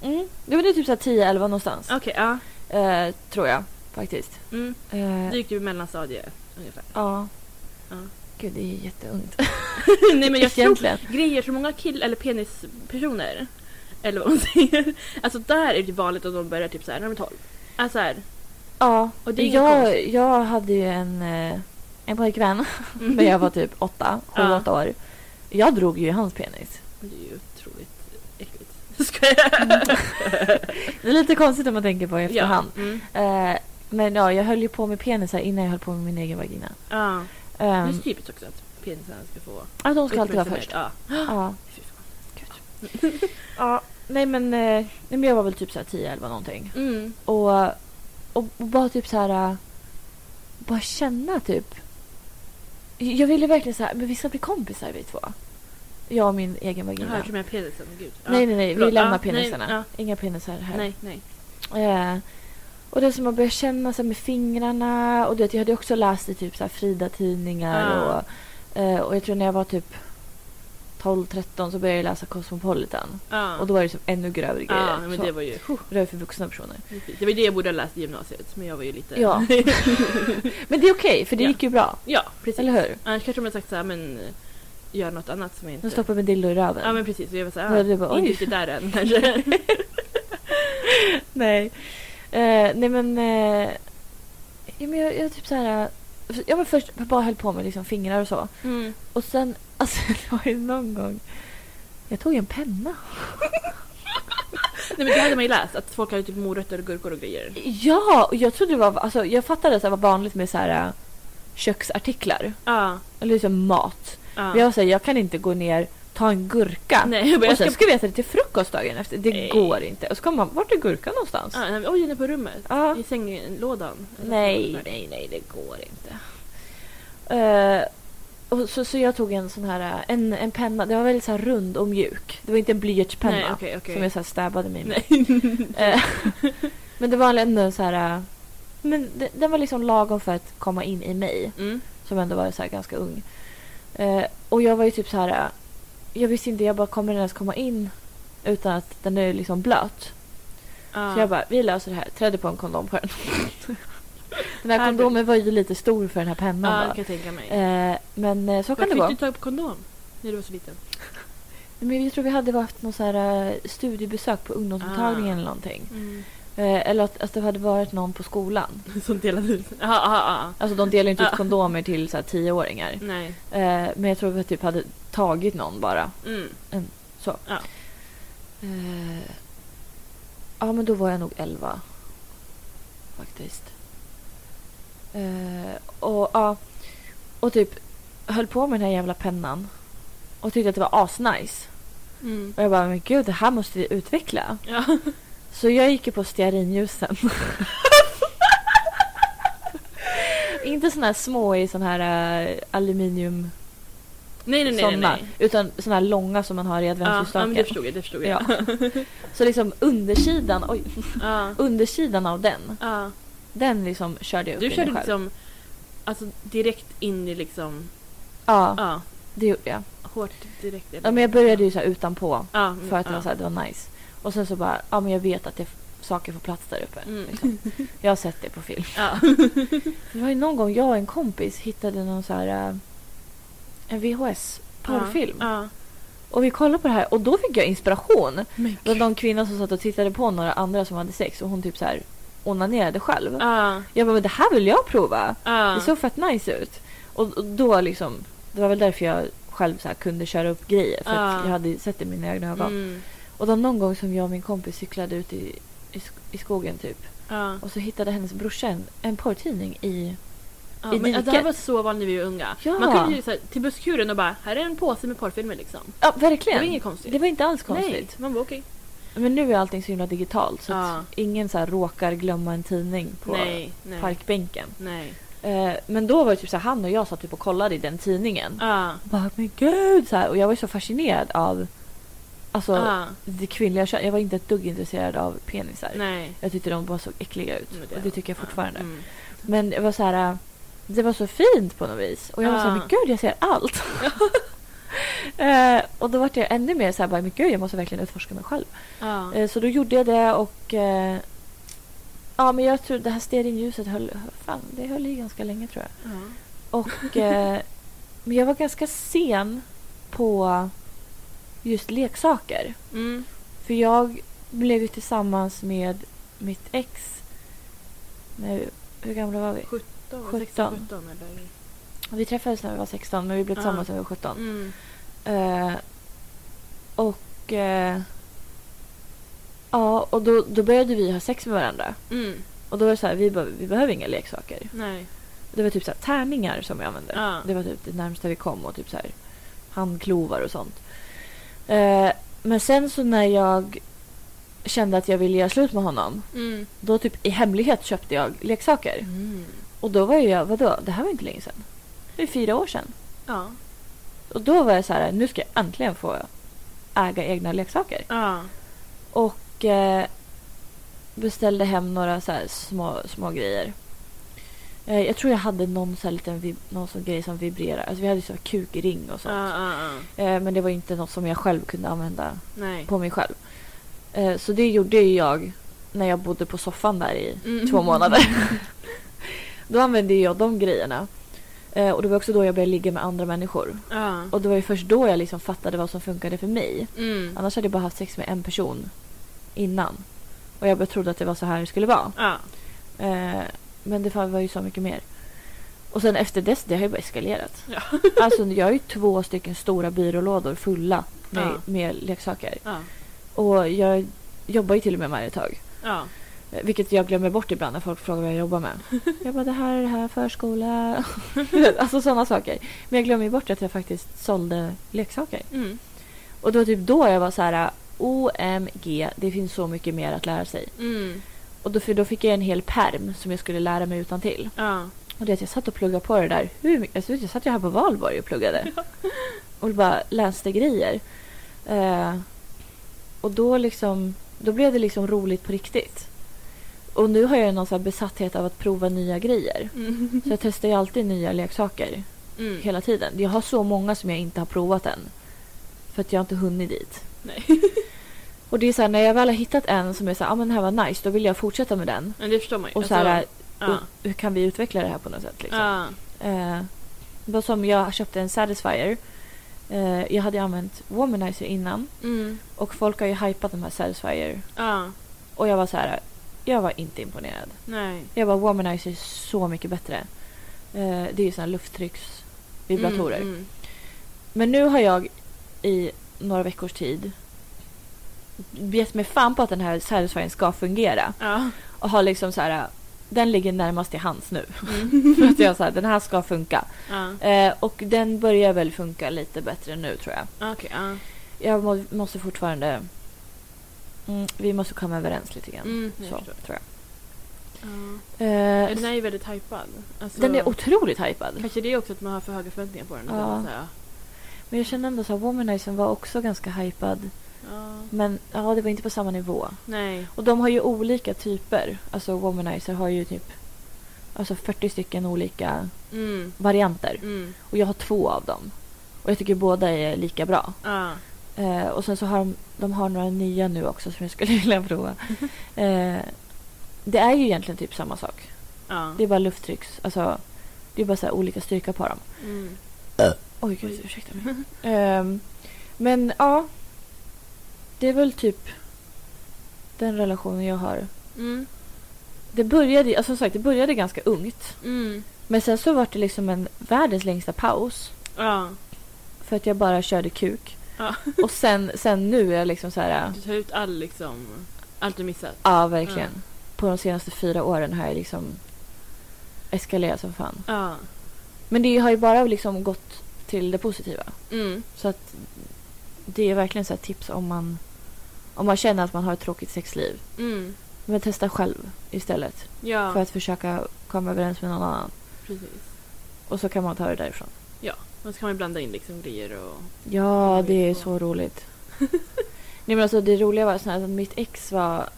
Mm. Det var det typ så här 10-11 någonstans.
Okej, ja.
Eh, tror jag faktiskt.
Mm.
Eh,
Det gick ju i mellanstadiet ungefär.
ja.
Ja.
Gud, det är ju jätteungt.
Nej men jag tror
Egentligen.
grejer så många kill eller penispersoner eller vad man säger. Alltså där är det vanligt att de börjar typ så här när de är 12. Alltså så här.
Ja.
Och det är inget
jag,
konstigt.
jag hade ju en, eh, en pojkvän när jag var typ 8, 7,
Mm. Ja.
8 år. Jag drog ju i hans penis.
Det är ju otroligt äckligt. Ska
Mm,
jag?
Det är lite konstigt om man tänker på i efterhand.
Ja. Mm.
Eh, men ja, jag höll ju på med penisar innan jag höll på med min egen vagina.
ja. Det är
Um,
så typiskt också att penisarna ska få
att de ska alltid vara först.
Ja.
Ja.
Fy fan.
ja. Nej men, eh, nej men jag var väl typ så här 10, 11 någonting.
Mm.
Och, och, och bara typ så här... äh, Bara känna typ. Jag ville verkligen så här, men vi ska bli kompisar vi två. Jag och min egen
Jag
vagina.
hörde med penisen, gud. Ja.
nej, nej, nej. Vi
Förlåt.
lämnar
Ja, nej,
penisarna.
ja.
Inga penisar här.
Nej, nej.
Eh, och det som man börjar känna så här, med fingrarna. Och du vet, jag hade också läst i typ så här, Frida-tidningar.
Ah.
Och, eh, och jag tror när jag var typ 12-13 så började jag läsa Cosmopolitan.
Ja.
Och då var det som ännu grövre grejer.
ja, men
så,
det var ju... huh,
det var för vuxna personer.
det var ju det jag borde ha läst i gymnasiet, men jag var ju lite...
Ja. Men det är okej, för det
Ja.
gick ju bra.
ja precis.
Eller hur?
Annars kanske de hade sagt såhär, men eh, gör något annat som jag inte...
De stoppar med dildo i röven.
Ja men precis, och jag var
Ja,
såhär,
du
ja,
bara,
inte
oj.
riktigt där än kanske.
nej. Eh, nej men... eh, ja, men jag, jag typ så här... eh, Jag var först jag bara höll på med liksom fingrar och så.
Mm.
Och sen, alltså det var ju någon gång... Jag tog en penna.
Nej men det hade man ju läst, att folk hade typ morötter och gurkor och grejer.
Ja, och jag trodde det var... Alltså, jag fattade att det var vanligt med så här eh, köksartiklar.
Ja.
Eller liksom mat.
ja.
Men jag var så här, jag kan inte gå ner, ta en gurka.
Nej, jag bara,
Och
jag
sen
ska...
ska vi äta det till frukost dagen efter. Det
Nej.
går inte. Och så kommer man, vart är gurkan någonstans?
Ja, Ah, nej, men- oj, den är på rummet.
Alltså. Ja.
I sänglådan. Eller
Nej,
något där.
nej, nej, det går inte. Eh, och så, så jag tog en sån här, eh, en, en penna. Den var väldigt så här rund och mjuk. Det var inte en blyertspenna
Nej, okej, okej.
som jag så här stabbade mig med.
Nej.
Eh, men det var ändå en så här... eh, Men de- den var liksom lagom för att komma in i mig,
Mm.
som ändå var så här ganska ung. Eh, och jag var ju typ så här... eh, Jag visste inte, jag bara kommer den ens komma in utan att den är liksom blöt?
Ja.
Så jag bara, vi löser det här. Trädde på en kondom på den. den här
Här-
kondomen var ju lite stor för den här pennan.
Ja,
bara.
det kan jag tänka mig.
Eh, men eh, så kan
Varför
det
fick
vara.
du tag på kondom? När du var så liten?
Men jag tror vi hade haft någon så här, eh, studiebesök på ungdomsmottagningen
Ah.
eller någonting. Eh, eller att, att det hade varit någon på skolan.
Som delade ut. Ja, ja, ja.
Alltså de delar ju inte ut
Ah.
kondomer till så här, tioåringar.
Nej.
Eh, men jag tror vi typ hade tagit någon bara.
Mm.
Så.
Ja.
Eh, ja men då var jag nog 11. Faktiskt. Eh, och ja. Och typ höll på med den här jävla pennan. Och tyckte att det var asnice.
Mm.
Och jag bara men gud det här måste vi utveckla.
Ja.
Så jag gick ju på stearinljusen. Inte såna här små i sån här eh, aluminium
Nej, nej, nej. nej,
såna.
nej.
Utan såna här långa som man har i
Ja, ja, men
adventsljusstaken.
det förstod jag. Det förstod jag.
Ja. Så liksom undersidan, oj,
Ja.
undersidan av den,
Ja.
den liksom körde jag upp i
Du
mig
körde
själv.
liksom alltså, direkt in i liksom...
Ja,
Ja.
det gjorde jag.
Hårt direkt. eller-
Ja, men jag började ju så här utanpå
Ja, mm,
för att det
ja.
var, så här, det var nice. Och sen så bara, ja men jag vet att det saker får plats där uppe.
Mm.
Liksom. Jag har sett det på film.
Ja.
Det var ju någon gång jag och en kompis hittade någon så här, eh, en VHS porrfilm.
Ja.
Och vi kollade på det här och då fick jag inspiration.
Men
Det var någon kvinna som satt och tittade på några andra som hade sex och hon typ så här onanerade själv.
Ja.
Jag bara, men det här vill jag prova.
Ja.
Det såg fett nice ut. Och, och då liksom, det var väl därför jag själv så här kunde köra upp grejer. För att
Ja.
jag hade sett det i mina egna ögon.
Mm.
Och då någon gång som jag och min kompis cyklade ut i, i, sk- i skogen typ.
Ja.
Och så hittade hennes brorsa en, en porrtidning i...
Ja,
I
men det här
diket.
var så vanligt när vi var unga.
Ja.
Man kunde ju så här, till busskuren och bara här är en påse med porrfilmer liksom.
Ja,
Det
verkligen.
var inget konstigt.
Det var inte alls konstigt.
Nej, man var okej.
Men nu är allting så himla digitalt så att ingen så här råkar glömma en tidning på
nej, nej.
parkbänken.
Nej.
Eh, men då var det typ så här, han och jag satt typ och kollade i den tidningen.
Ja.
bara, men gud! Så här, och jag var ju så fascinerad av alltså,
Ja.
det kvinnliga könet. Jag var inte ett dugg intresserad av penisar.
Nej.
Jag tyckte de bara såg äckliga ut.
Men
och det tycker jag fortfarande.
Mm.
Men det var så här, äh, det var så fint på något vis. Och jag var så här,
Ja.
men gud jag ser allt. Eh, och då var jag ännu mer så här, bara, men gud, jag måste verkligen utforska mig själv.
Ja.
Eh, så då gjorde jag det och... Eh, ja, men jag tror det här stearinljuset höll, fan, det höll i ganska länge tror jag.
Ja.
Och, eh, men jag var ganska sen på just leksaker.
Mm.
För jag blev ju tillsammans med mitt ex. När, hur gamla var vi?
17,
17.
16, 17 eller?
Vi träffades när vi var 16 men vi blev
Ja.
tillsammans när vi var 17.
Mm.
Eh, och eh, ja, och då, då började vi ha sex med varandra.
Mm.
Och då var det så här, vi, be- vi behöver inga leksaker.
Nej.
Det var typ så här, tärningar som vi använde.
Ja.
Det var typ det närmsta vi kom och typ så här, handklovar och sånt. Eh, men sen så när jag kände att jag ville göra slut med honom.
Mm.
Då typ i hemlighet köpte jag leksaker. Och då var ju jag, vadå, det här var inte länge sedan. Det är fyra år sedan.
Ja.
Och då var jag så här, nu ska jag äntligen få äga egna leksaker.
Ja.
Och eh, beställde hem några så här små, små grejer. Eh, jag tror jag hade någon, så här liten vib- någon sån grej som vibrerar. Alltså vi hade ju så här kukring och
Ja,
sånt.
ja, ja.
Eh, men det var ju inte något som jag själv kunde använda
ah. Nej.
på mig själv. Eh, så det gjorde ju jag när jag bodde på soffan där i
Mm.
två månader. då använde ju jag de grejerna. Eh, och det var också då jag började ligga med andra människor.
Ja.
Och det var ju först då jag liksom fattade vad som funkade för mig.
Mm.
Annars hade jag bara haft sex med en person innan. Och jag bara trodde att det var så här det skulle vara.
Ja.
Eh, men det var ju så mycket mer. Och sen efter dess, det har ju bara eskalerat.
Ja.
alltså jag har ju två stycken stora byrålådor fulla med,
Ja.
med leksaker.
Ja.
Och jag jobbar ju till och med med det ett tag.
Ja.
Eh, Vilket jag glömmer bort ibland när folk frågar vad jag jobbar med. Jag bara det här, det här, förskola. Du vet, alltså sådana saker. Men jag glömmer ju bort att jag faktiskt sålde leksaker.
Mm.
Och det var typ då jag var så här OMG, det finns så mycket mer att lära sig.
Mm.
Och då, för då fick jag en hel perm som jag skulle lära mig utan till.
Ja.
Och det är att jag satt och pluggade på det där. Hur mycket, alltså, jag satt ju här på valborg och pluggade. Och bara läste grejer. Eh, och då liksom, då blev det liksom roligt på riktigt. Och nu har jag någon sån här besatthet av att prova nya grejer.
Mm.
Så jag testar ju alltid nya leksaker
Mm.
hela tiden. Jag har så många som jag inte har provat än. För att jag inte hunnit dit.
Nej.
Och det är så här, när jag väl har hittat en som är så här, ah, men den här var nice, då vill jag fortsätta med den.
Men det förstår man ju.
Och så här,
Alltså, ja.
och, hur kan vi utveckla det här på något sätt? Liksom?
Ja.
Eh, bara som jag köpte en Satisfyer. Eh, jag hade ju använt Womanizer innan
Mm.
och folk har ju hypat de här Satisfyer.
Ja.
Och jag var så här, jag var inte imponerad.
Nej.
Jag bara Womanizer är så mycket bättre. Eh, det är ju såna här lufttrycksvibratorer.
Mm. Mm.
Men nu har jag i några veckors tid gett mig fan på att den här Satisfyern ska fungera.
Ja.
Och har liksom så här, den ligger närmast till hands nu.
Mm.
För att jag sa den här ska funka.
Ja.
Eh, och den börjar väl funka lite bättre nu tror jag.
Okej. Ja.
Jag må, måste fortfarande... Mm, vi måste komma överens lite grann.
Mm. Jag
så,
förstår.
tror jag.
Ja.
Eh,
Ja, Den är ju väldigt hypad. Alltså,
den är otroligt hypad.
Kanske det är också att man har för höga förväntningar på den. Att
Ja.
den är så här,
Men jag känner ändå så här, Womanizer var också ganska hypad.
ja.
Men ja, det var inte på samma nivå.
Nej.
Och de har ju olika typer. Alltså Womanizer har ju typ alltså 40 stycken olika
Mm.
varianter.
Mm.
Och jag har två av dem. Och jag tycker båda är lika bra.
Ja.
Eh, och sen så har de, de har några nya nu också som jag skulle vilja prova. Eh, det är ju egentligen typ samma sak.
Ja.
Det är bara lufttrycks... Alltså, det är bara så här olika styrka på dem.
Mm.
Oj, gud, ursäkta mig. Ehm, men ja. Det är väl typ den relationen jag har.
Mm.
Det började, alltså som sagt, det började ganska ungt.
Mm.
Men sen så var det liksom en världens längsta paus.
Ja.
För att jag bara körde kuk.
Ja.
Och sen, sen nu är jag liksom så här...
Du tar ut all liksom... Allt du missat.
Ja, verkligen. På de senaste fyra åren har jag liksom eskalerat som fan.
Ja.
Men det har ju bara liksom gått till det positiva.
Mm.
Så att det är verkligen så här tips om man, om man känner att man har ett tråkigt sexliv.
Mm.
Men testa själv istället
Ja.
för att försöka komma överens med någon annan.
Precis.
Och så kan man ta det därifrån.
Och så kan man ju blanda in liksom grejer och...
Ja,
Oj,
det är
ja.
så roligt. Nej, men alltså, det roliga var så här att mitt ex var...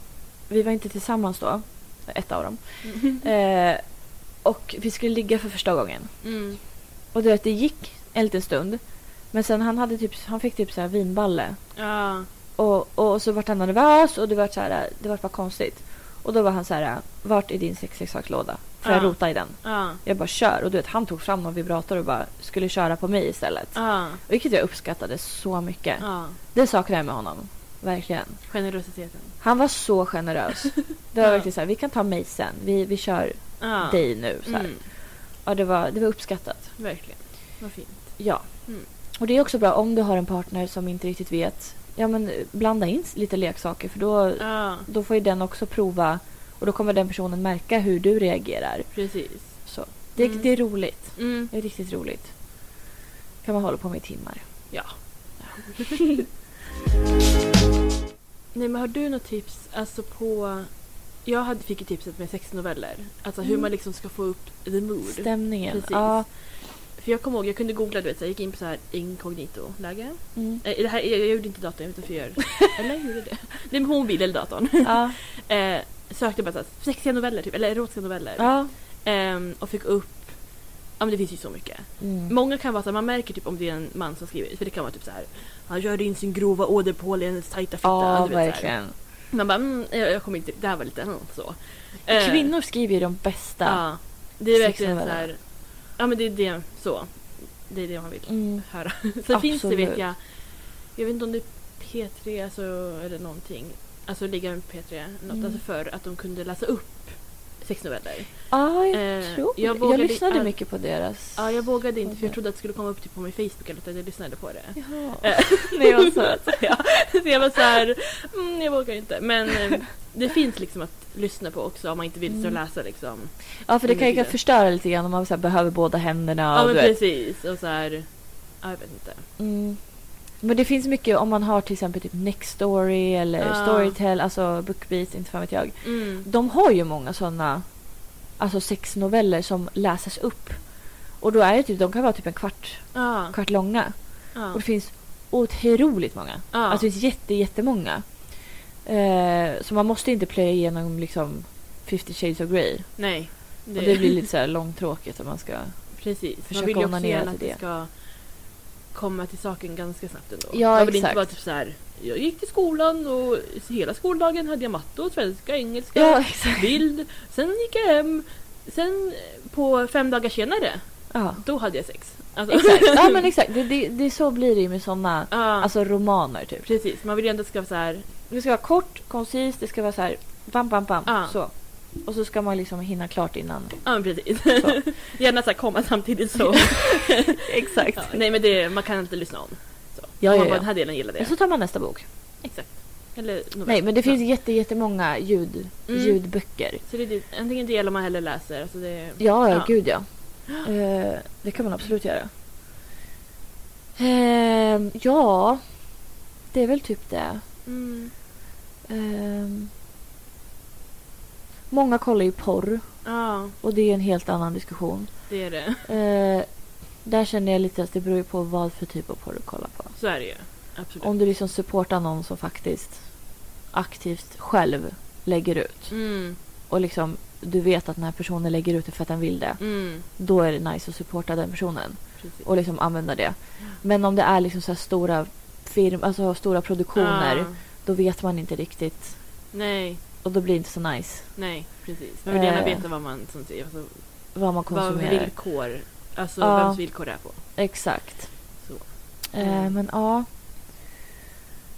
Vi var inte tillsammans då, ett av dem. Eh, och vi skulle ligga för första gången.
Mm.
Och du vet, det gick en liten stund. Men sen han, hade typ, han fick typ så här vinballe.
Ja.
Och, och så vart han nervös och det vart, så här, det vart bara konstigt. Och då var han så här, vart är din sexleksaklåda? Får jag
Ja.
rota i den?
Ja.
Jag bara kör. Och du vet, han tog fram någon vibrator och bara skulle köra på mig istället.
Ja.
Vilket jag uppskattade så mycket.
ja.
Det saknar jag med honom. Verkligen.
Generositeten.
Han var så generös. Det var
Ja.
verkligen så här, vi kan ta mig sen. Vi, vi kör
Ja.
dig nu. Så här.
Mm,
Ja, det, var, det var uppskattat.
verkligen. Vad fint.
Ja.
Mm.
Och det är också bra om du har en partner som inte riktigt vet. Ja, men blanda in lite leksaker för då,
Ja,
då får ju den också prova och då kommer den personen märka hur du reagerar.
precis.
Så det,
Mm.
det är roligt.
Mm.
Det är riktigt roligt. Kan man hålla på med i timmar.
Ja. Nej men har du något tips alltså på... Jag hade, fick ju tipset med sexnoveller. Alltså hur
Mm.
man liksom ska få upp the mood.
Stämningen.
Precis.
Ja.
För jag kommer ihåg, jag kunde googla du vet, så jag gick in på så här inkognito-läge.
Mm.
Eh, det här, jag, jag gjorde inte datorn utan för jag gör... eller jag gjorde det? Nej men på mobil eller datorn.
ja.
Eh, sökte bara så här, sexiga noveller typ, eller erotiska noveller.
ja.
Ehm, och fick upp... Ja men det finns ju så mycket.
Mm.
Många kan vara så här, man märker typ om det är en man som skriver för det kan vara typ så här. Han rörde in sin grova åderpåle i hennes tajta fitta.
Ja,
du vet, så här.
verkligen.
Man bara, mm, jag jag kommer inte, det här var lite, mm, så. Eh,
Kvinnor skriver ju de bästa.
Ja. Det är verkligen så
Sexnoveller.
här, ja men det är det, så. Det är det man vill
Mm.
höra. Sen finns det
Absolut.
vet jag, jag vet inte om det är P3 alltså, eller någonting, alltså ligga med P3, något,
Mm.
alltså för att de kunde läsa upp sexnoveller.
Ja, jag
Eh,
tror
jag
jag, jag
vågade-
lyssnade
all-
mycket på deras.
Ja, jag vågade inte för
Okej.
jag trodde att det skulle komma upp typ på min Facebook eller något, jag lyssnade på det.
Jaha.
Eh.
Nej, vad söt.
ja, så jag var så här, mm, jag vågar inte. Men eh, det finns liksom att lyssna på också om man inte vill stå och
Mm.
läsa liksom.
Ja, för det kan ju
Under tiden.
förstöra lite grann om man så här, behöver båda händerna.
Ja,
och,
men
du vet.
precis. Och så här, ja, jag vet inte.
Mm. Men det finns mycket om man har till exempel typ Nextory eller
Ja.
Storytel, alltså Bookbeat, inte fan vet jag.
Mm.
De har ju många sådana alltså sexnoveller som läses upp. Och då är det typ, de kan vara typ en kvart,
Ja,
kvart långa. Och
ja,
det finns otroligt många.
ja.
Alltså det finns jätte, jättemånga. Eh, så man måste inte plöja igenom liksom 50 shades of Grey.
nej. Det,
Och det blir lite så här långtråkigt om man ska...
precis. Man
försöka
vill ju också
onanera
gärna att
till
det
det.
ska komma till saken ganska snabbt ändå.
Ja,
jag vill inte
exakt.
vara typ så här. Jag gick till skolan och hela skoldagen hade jag matte och svenska, engelska,
Ja, exakt.
bild. Sen gick jag hem. Sen eh, på fem dagar senare,
Ja,
då hade jag sex. Alltså-
exakt. Ja, men exakt. Det, det, det, så blir det ju med sådana
Ja,
alltså, romaner. Typ.
precis. Man vill ju ändå att det ska vara så här.
Det ska vara kort, koncist, det ska vara så här... Bam, bam, bam.
Ja.
Så. Och så ska man liksom hinna klart innan.
Ja, men precis.
Så.
Gärna så här komma samtidigt så.
Exakt.
Ja, nej men det, man kan inte lyssna om. Så.
Ja,
Om
ja,
man bara,
ja.
Den här delen gillade
Och
jag.
så tar man nästa bok.
Exakt. Eller novell.
Nej, men det finns
Så,
jätte, jättemånga ljud,
Mm.
ljudböcker.
så det är det, antingen det eller man hellre läser. Alltså det,
Ja,
Ja.
gud ja. Eh, det kan man absolut göra. Ehm, ja, det är väl typ det.
mm,
Ehm, många kollar ju porr
ja,
och det är en helt annan diskussion.
det är det.
Eh, där känner jag lite att det beror ju på vad för typ av porr du kollar på.
Så är det ju. Absolut.
Om du liksom supportar någon som faktiskt aktivt själv lägger ut
Mm,
och liksom du vet att den här personen lägger ut det för att den vill det.
mm,
Då är det nice att supporta den personen.
precis.
och liksom använda det.
Mm.
Men om det är liksom så här stora firm, alltså stora produktioner,
Ja,
då vet man inte riktigt.
nej,
Och då blir det inte så nice
nej, precis. Man vill gärna
Eh,
veta vad man som, alltså,
vad man
vad
konsumerar.
villkor, alltså
Ja.
vems villkor det är på.
Exakt.
Så.
Eh,
Mm.
men ja.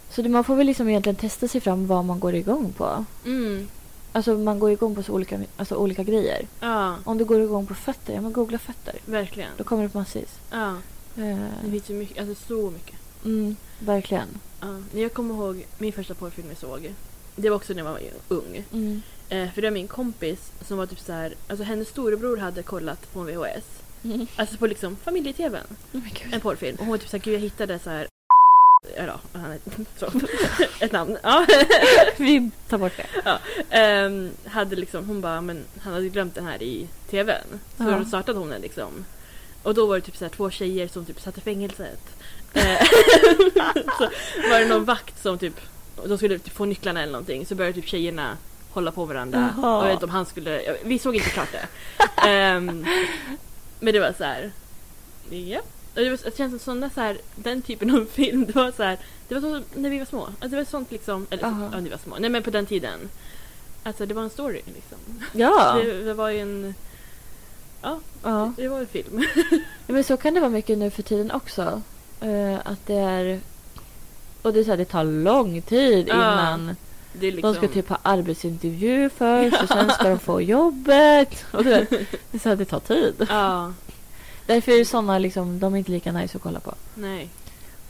Så det, man får väl liksom egentligen testa sig fram vad man går igång på.
Mm,
Alltså man går igång på så olika, alltså olika grejer.
ja,
Om du går igång på fötter, ja men googla fötter.
verkligen.
Då kommer det upp massvis.
Ja. Det
Eh,
finns ju mycket, alltså så mycket.
mm, verkligen.
Ja. När jag kommer ihåg min första porrfilm jag såg. Det var också när jag var ung.
Mm.
Eh, för det var min kompis som var typ så här, alltså hennes storebror hade kollat på en VHS.
Mm.
Alltså på liksom familjetvn.
Oh my God.
En porrfilm. Och hon var typ såhär, gud jag hittade så här. Eller ja, han är, så, ett namn. Ja.
Vi tar bort det.
Ehm, hade liksom, hon bara, men han hade glömt den här i tvn. Så
Ja.
då startade hon den liksom. Och då var det typ så här, två tjejer som typ satt i fängelset. Eh, så var det någon vakt som typ, de skulle typ få nycklarna eller någonting. Så började typ tjejerna hålla på varandra.
Jaha.
Och jag vet inte om han skulle, jag- vi såg inte klart det. Ehm, men det var så här. Ja, Och Det, var, det känns som sådana, så här, den typen av film, det var så här, det var så när vi var små. Alltså, det var sånt liksom, eller
Aha.
ja, när vi var små, nej men på den tiden. Alltså det var en story liksom.
Ja.
Det, det var ju en,
ja.
det var en film.
Ja, Men så kan det vara mycket nu för tiden också. Eh, att det är... Och det, är så här, det tar lång tid
Ja,
innan.
Det är liksom,
De ska typ ha arbetsintervju först och sen ska de få jobbet. Och det, det, är så här, det tar tid.
Ja,
Därför är ju sådana liksom, de är inte lika nice att kolla på.
nej.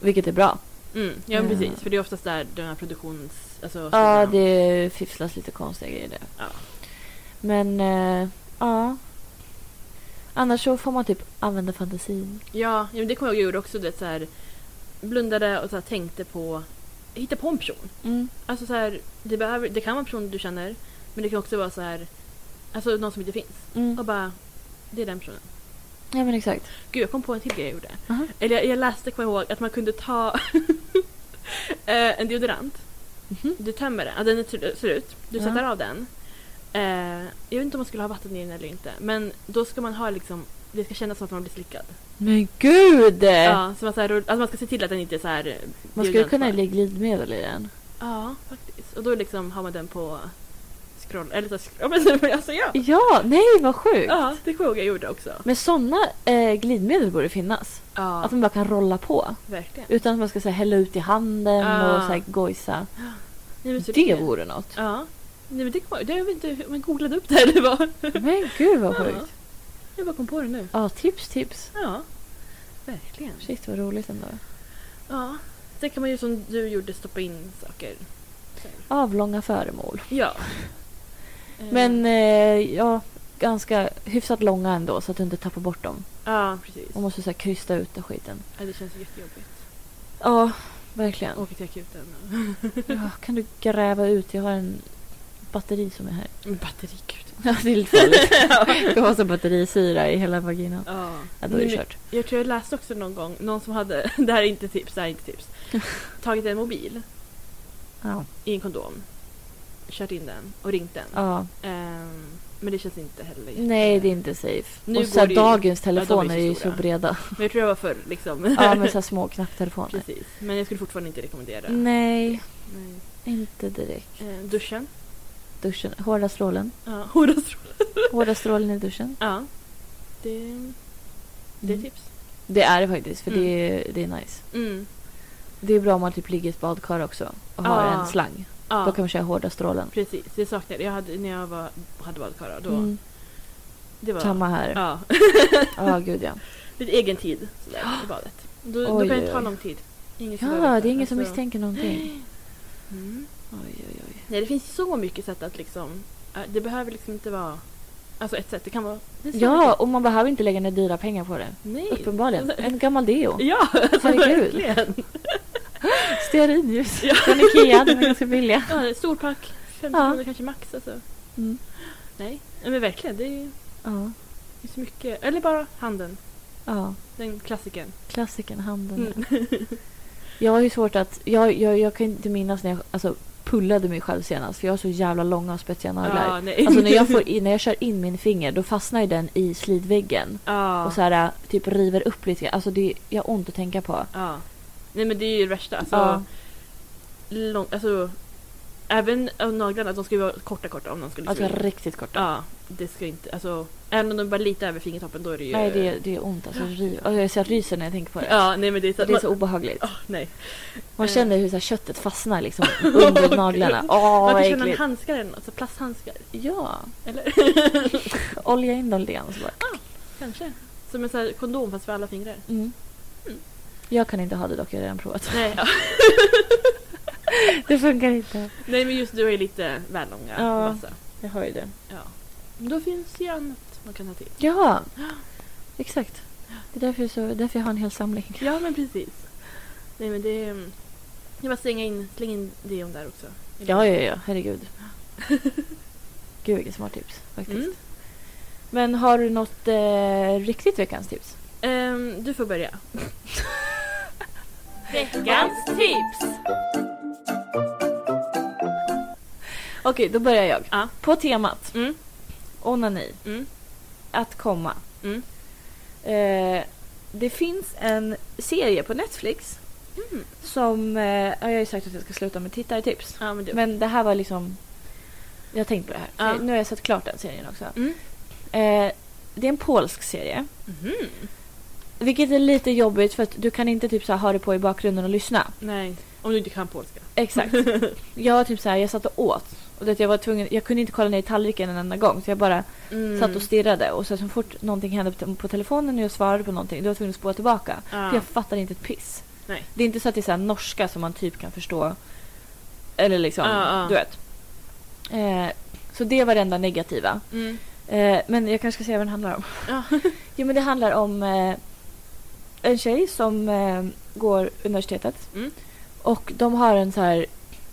Vilket är bra.
Mm, ja men
Ja.
precis, för det är oftast där den här produktions... Alltså,
Ja,
filmerna-
det fifflas lite konstiga grejer där.
Ja.
Men, eh, ja. Annars så får man typ använda fantasin.
Ja, ja, men det kommer jag ihåg jag gjorde också. Det, så här, blundade och så här, tänkte på... Hitta på en person. Alltså, så här, det, behöver, det kan vara en person du känner, men det kan också vara så här, alltså, någon som inte finns.
Mm.
Och bara, det är den personen.
Ja, men exakt.
Gud, jag kom på en till grej jag gjorde.
Aha.
Eller jag, jag läste, kommer jag ihåg, att man kunde ta eh, en deodorant.
Mhm.
Du tömmer den, ja, den är tr- slut. Du
Ja.
sätter av den. Eh, jag vet inte om man skulle ha vatten i den eller inte, men då ska man ha liksom, det ska kännas som att man blir slickad.
Men gud!
Ja, så man, så här, rull- alltså man ska se till att den inte är så här...
Eh.
eh,
man skulle
deodorant
kunna
kvar.
lägga glidmedel i den.
Ja, faktiskt. Och då liksom har man den på scroll... Eller så här, sk- ja, men men alltså ja!
Ja, nej vad sjukt!
Ja, det kommer jag ihåg jag gjorde också.
Men sådana eh, glidmedel borde finnas.
Ja,
Att man bara kan rolla på.
verkligen.
Utan att man ska så här, hälla ut i handen
Ja.
och så här, gojsa.
Nej, men så
Det vore något.
Ja. Nej men det kommer jag ihåg. Jag vet inte hur man googlade upp det här, eller vad.
Men gud vad
Ja.
sjukt.
Jag bara kom på det nu.
Ja, tips tips.
Ja, verkligen.
Shit vad roligt ändå.
Ja. Sen kan man ju som du gjorde stoppa in saker.
Avlånga föremål.
Ja.
Men eh, ja, ganska hyfsat långa ändå så att du inte tappar bort dem.
Ja, precis.
Man måste så här, krysta ut den skiten.
Ja, det känns jättejobbigt.
Ja, verkligen.
Åka till akuten.
Ja, kan du gräva ut? Jag har en batteri som är här.
Men batteri, gud.
Ja, det är lite farligt. Det kan vara så batterisyra i hela vaginan.
Ja.
Ja, då är det
Nej,
kört.
Jag tror jag läste också någon gång, någon som hade, det här är inte tips, det här är inte tips, tagit en mobil
Ja.
i en kondom, kört in den och ringt den.
ja.
Ehm, men det känns inte heller jätte-
Nej, det är inte safe.
Nu
och
går
så här,
det ju-
dagens
de är
telefoner
så
är ju så
stora.
breda.
Men jag tror jag var förr liksom.
Ja, med så här små knapptelefoner.
Precis. Men jag skulle fortfarande inte rekommendera.
Nej,
Nej.
inte direkt.
Ehm, duschen.
Duschen. Hårda strålen.
Ja, håravstrålar.
Hårda strålen i duschen.
Ja. Det, det är
Mm.
tips.
Det är det faktiskt, för
Mm.
det, är, det är nice.
Mm.
Det är bra om man typ ligger i ett badkar också och har
Ja.
en slang. Då
Ja,
kan man köra hårda strålen.
precis. Det saknade jag. Hade, när jag var, hade badkar då.
Mm.
Det var...
Samma här. Ja,
Ja.
gud ja.
Lite egen tid sådär, i badet. Då, då
Oj,
kan det ta
oj.
lång tid. Ingen som behöver
Ja,
veta.
det är ingen som
Alltså,
misstänker någonting.
Mm.
Oj, oj, oj.
Nej, det finns så mycket sätt att liksom... äh, Det behöver liksom inte vara... Alltså ett sätt, det kan vara... Det är så
Ja,
mycket.
och man behöver inte lägga ner dyra pengar på det.
Nej!
Uppenbarligen. En gammal deo.
Ja, alltså
Herregud.
verkligen!
Stearinljus.
Ja.
Från Ikea, de är ganska billiga.
Ja, storpack, 50
Ja.
kronor kanske max alltså.
Mm.
Nej, Nej, men verkligen. Det är ju
Ja,
det är så mycket. Eller bara handen.
ja.
Den klassikern.
Klassikern, handen.
Mm.
Jag har ju svårt att... Jag, jag, jag kan inte minnas när jag alltså, pullade mig själv senast. För jag har så jävla långa och spetsiga naglar.
nej.
Alltså när jag, får in, när jag kör in min finger då fastnar ju den i slidväggen.
Ja.
Och så här äh, typ river upp lite grann. Alltså det, jag har ont att tänka på.
ja. Nej men det är ju det värsta. Alltså,
Ja.
lång, alltså, även av naglarna, de ska ju vara korta korta om de skulle
Alltså
fly.
riktigt korta.
Ja, det ska inte, alltså, även om de är bara lite över fingertoppen då är det ju...
Nej det, det är ont. Alltså, riv. Och jag, så jag ryser när jag tänker på det.
Ja, nej men det är så...
Det är så obehagligt.
Åh, nej.
Man
Eh.
känner hur så här, köttet fastnar liksom under naglarna. Åh,
Man
vad
kan känna med
äckligt.
handskar eller något, så plasthandskar.
Ja.
Eller?
Olja in dem lite grann och så bara.
Kanske. Som en sån här kondom fast för alla fingrar.
Mm. Jag kan inte ha det dock, jag har redan provat.
Nej, ja.
Det funkar inte.
nej men just du är lite väl långa.
Ja.
och Massa.
Jag har ju det.
ja. Men då finns det ju annat man kan ha till.
Ja, exakt. Det är därför, jag så, därför jag har en hel samling.
Ja men precis. Nej men det... är- Jag bara slänga in, släng in deon där också.
Ja, ja, ja. Herregud. Gud, vilket smart tips faktiskt.
Mm.
Men har du något eh, riktigt veckans tips?
Ehm, du får börja.
Veckans tips! Okej, då börjar jag.
Ja.
På temat
Mm.
onani,
Mm.
att komma.
Mm.
Eh, det finns en serie på Netflix
Mm.
som... Eh, ja, jag har ju sagt att jag ska sluta med tittartips.
Ja, men det...
Men det här var liksom... Jag har tänkt på det här.
Ja.
Nu har jag sett klart den serien också.
Mm.
Eh, det är en polsk serie.
Mhm.
Vilket är lite jobbigt för att du kan inte typ så här, ha det på i bakgrunden och lyssna.
Nej, om du inte kan polska.
Exakt. jag var typ så här, jag satt och åt. Och det, att jag, var tvungen, jag kunde inte kolla ner i tallriken en enda gång. Så jag bara
Mm.
satt och stirrade. Och så, så fort någonting hände på, på telefonen och jag svarade på någonting, då var jag tvungen att spola tillbaka. För
Ja.
jag fattar inte ett piss.
Nej.
Det är inte så att det är så här norska som man typ kan förstå. Eller liksom,
Ja, ja.
du vet. Eh, så det var det enda negativa.
Mm.
Eh, men jag kanske ska säga vad den handlar om.
Ja.
jo, men det handlar om eh, en tjej som eh, går universitetet.
Mm.
Och de har en så här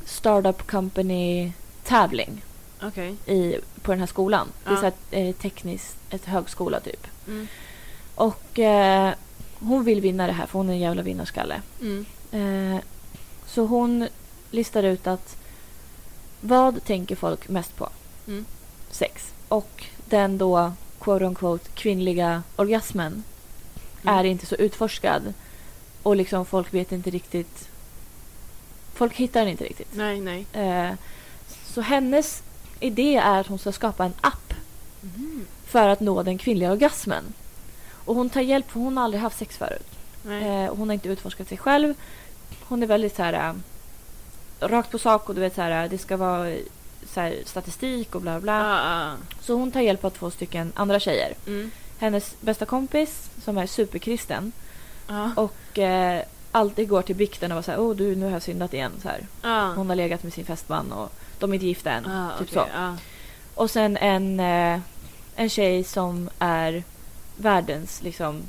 startup company tävling
Okej.
i, på den här skolan. Det är
Ja.
så här, eh, tekniskt, ett högskola typ.
Mm.
Och eh, hon vill vinna det här för hon är en jävla vinnarskalle.
Mm.
Eh, så hon listar ut att vad tänker folk mest på?
Mm.
Sex. Och den då, quote unquote, kvinnliga orgasmen
Mm.
är inte så utforskad. Och liksom folk vet inte riktigt. Folk hittar den inte riktigt.
Nej, nej.
Eh, så hennes idé är att hon ska skapa en app
Mhm.
för att nå den kvinnliga orgasmen. Och hon tar hjälp för hon har aldrig haft sex förut.
Nej.
Eh, hon har inte utforskat sig själv. Hon är väldigt så här eh, rakt på sak och du vet så här eh, det ska vara eh, så här, statistik och bla bla.
Ah, ah.
Så hon tar hjälp av två stycken andra tjejer.
Mm.
Hennes bästa kompis som är superkristen
Ah.
och eh, alltid går till bikten och var så här, åh du nu har jag syndat igen så här.
Ah.
Hon har legat med sin fästman och de är inte gifta än.
Ah,
typ
okej,
så.
ah.
Och sen en, eh, en tjej som är världens liksom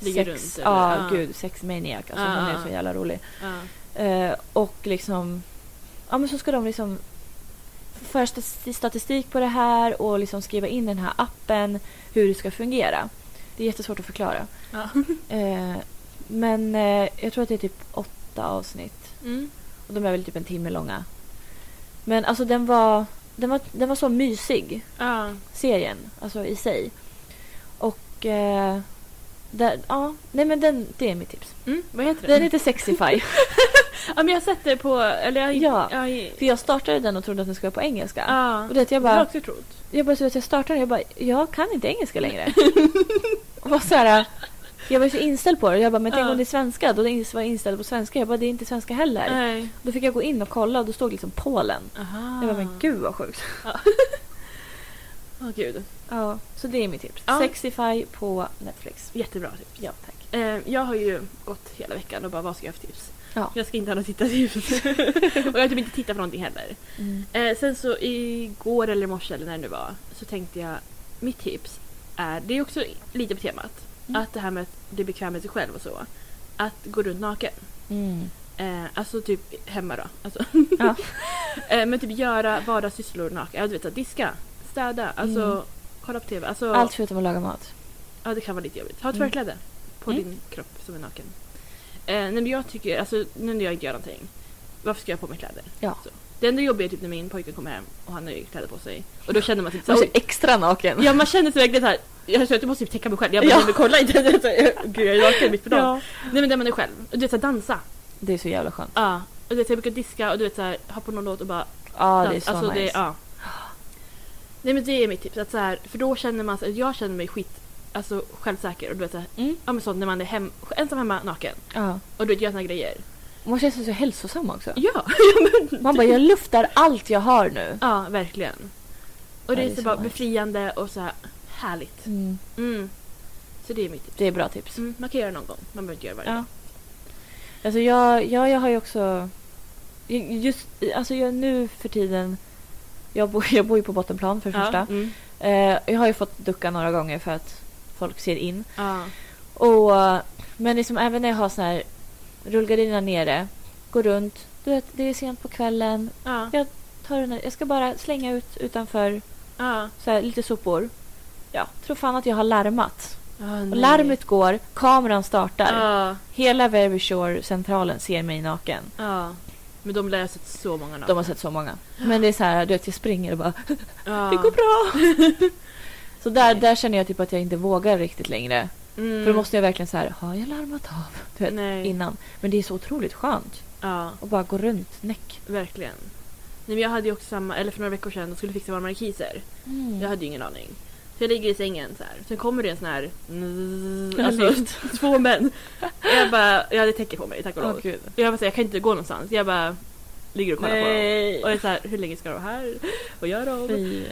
Ligger
sex,
runt, eller?
ja
Ah.
gud, sexmaniac. Alltså
Ah,
hon
ah.
är så jävla rolig.
Ah.
Eh, och liksom... Ja, men så ska de liksom föra stat- statistik på det här och liksom skriva in den här appen, hur det ska fungera. Det är jättesvårt att förklara.
Ja.
Eh, men eh, jag tror att det är typ åtta avsnitt.
Mm.
Och de är väl typ en timme långa. Men alltså den var, den var, den var så mysig,
Ah.
serien, alltså i sig. Och... Eh, där, ja, nej men den, det är mitt tips.
Mm. Vad heter
Den
den?
heter Sexify.
Ja, men jag har sett det på... Eller jag...
Ja.
jag, jag
För jag startade den och trodde att den skulle vara på engelska.
ah.
Och det, att jag
Det har jag
bara,
också trott.
jag bara, så att jag startade den, jag bara, jag kan inte engelska längre. och var så här, jag var så inställd på det. Jag bara, men tänk
Ja.
om det är svenska? Då var jag inställd på svenska. Jag bara, det är inte svenska heller.
Nej.
Då fick jag gå in och kolla och då stod liksom Polen.
Aha.
Jag bara, men gud vad sjukt.
Åh, gud.
Ja, så det är mitt tips.
Ja.
Sexify på Netflix.
Jättebra tips.
Ja, tack.
Eh, jag har ju gått hela veckan och bara vad ska jag ha för tips?
Ja.
Jag ska inte ha några tittartips. och jag har typ inte tittat på någonting heller. Eh, sen så igår eller i morse eller när det nu var så tänkte jag mitt tips är, det är också lite på temat,
Mm.
att det här med att bli bekväm med sig själv och så. Att gå runt naken.
Mm.
Eh, alltså typ hemma då. Alltså.
Ja.
eh, men typ göra vardagssysslor naken. Ja, du vet att diska, städa, alltså
Mm.
kolla på TV. Alltså,
Allt förutom att laga mat.
Ja, det kan vara lite jobbigt. Ha ett
Mm.
förkläde på
Mm.
din kropp som är naken. Eh, nej, men jag tycker, alltså nu när jag inte gör någonting, varför ska jag ha på mig kläder?
Ja.
Så. Det enda jobbiga är typ när min pojke kommer hem och han har ju kläder på sig. Och då känner man typ
Man
såhär,
är extra naken.
oj. ja man känner sig verkligen såhär, jag tror att du måste typ täcka mig själv. Jag bara,
Ja.
ja. men kolla inte. Det är så här, Gud jag är naken mitt på dagen. Nej men där man är själv. Och du vet såhär dansa.
Det är så jävla skönt.
Ja. Och du vet, jag brukar diska och du vet såhär, ha på någon låt och bara
Ja, det är
dans.
så
alltså,
nice.
det, ja. Nej men det är mitt tips, att så här, för då känner man sig, jag känner mig skit, alltså självsäker och du vet så här,
Mm.
Ja men sånt när man är hem, ensam hemma naken
ja.
och du vet, gör såna grejer.
Man känns så hälsosam också.
Ja!
Man bara, jag luftar allt jag har nu.
ja, verkligen. Och det,
Ja,
är så, bara
nice.
befriande och så här härligt. Mm. Så det är mitt tips.
Det är bra tips.
Mm, man kan göra det någon gång, man behöver inte göra det varje
Ja.
dag.
Alltså jag, ja, jag har ju också... Just, alltså jag nu för tiden... Jag bor, jag bor ju på bottenplan för det första.
Ja. Mm.
Eh, jag har ju fått ducka några gånger för att folk ser in.
Ja.
Och, men liksom även när jag har sån här rullgardinerna nere, går runt. Du vet, det är sent på kvällen.
Ja.
Ja. Tar den här, jag ska bara slänga ut utanför
Ja.
så här, lite sopor. Ja, tror fan att jag har larmat.
Ja,
Och
nej.
larmet går, kameran startar.
Ja.
Hela Very Shore-centralen ser mig naken.
ja. Men de lär sig så många namn.
De har sett så många. Men det är så här, du vet, jag springer och bara
ja.
det går bra. Så där,
Nej.
där känner jag typ att jag inte vågar riktigt längre.
Mm.
För då måste jag verkligen så här, har jag larmat av? Du vet,
Nej.
innan. Men det är så otroligt skönt
Ja,
att bara gå runt näck.
verkligen. Nej, men jag hade ju också samma, eller för några veckor sedan, de skulle fixa våra markiser. Jag hade ju ingen aning. Så jag ligger i sängen så här. Sen kommer det en sån här... Alltså, två män. Jag bara, jag hade täcke på mig tack och lov.
Åh, gud.
Jag bara, så här, jag kan inte gå någonstans. Jag bara ligger och kollar på dem. Och jag är så här, hur länge ska de vara här? Vad gör de?
Fy.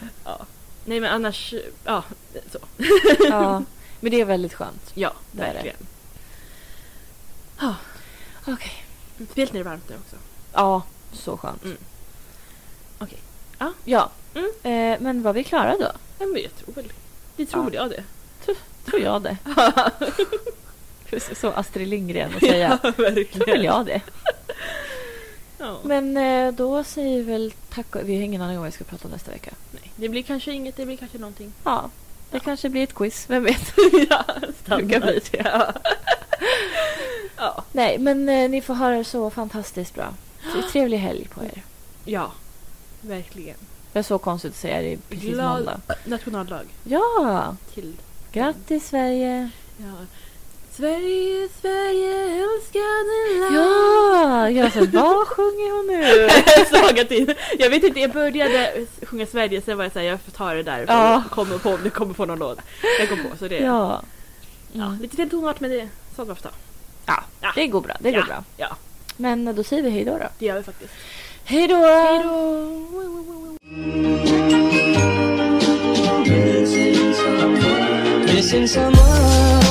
Nej men annars, ja så.
Ja, men det är väldigt skönt.
Ja,
Det är det.
verkligen.
Okej.
Speciellt när det är varmt nu också.
Ja, så skönt.
Mm. Okej.
Ja.
Ja. Mm.
Eh, men var vi klara då?
Ja, men jag tror väl det. tror
Ja.
jag det.
Tror jag det. så Astrid Lindgren att säga. Tror väl
verkligen.
jag det.
Ja.
Men eh, då säger vi väl tack och... Vi har ingen aning om vad vi ska prata om nästa vecka.
Nej, det blir kanske inget, det blir kanske någonting.
Ja, det kanske blir ett quiz. Vem vet?
ja,
Brukar bli
standard. Ja. ja.
Nej, men eh, ni får ha det så fantastiskt bra. Trevlig helg på er.
ja, verkligen.
Det är så konstigt att säga det precis
Glad-
måndag.
Nationaldag
Ja!
till...
Grattis Sverige!
Ja. Sverige, Sverige, älskade land.
Ja! Jag så, vad sjunger hon nu?
Jag såg att det, jag vet inte, jag började sjunga Sverige sen var jag såhär, jag får ta det där för
Ja.
jag kommer på om det kommer på någon låt. Jag kom på så det,
Ja. Mm.
ja, lite fel tonart men det, sånt var ofta.
Ja, det går bra. Det går
Ja.
bra.
Ja,
Men eh, då säger vi hej då. då.
det gör vi faktiskt.
Hej då!
Missing someone.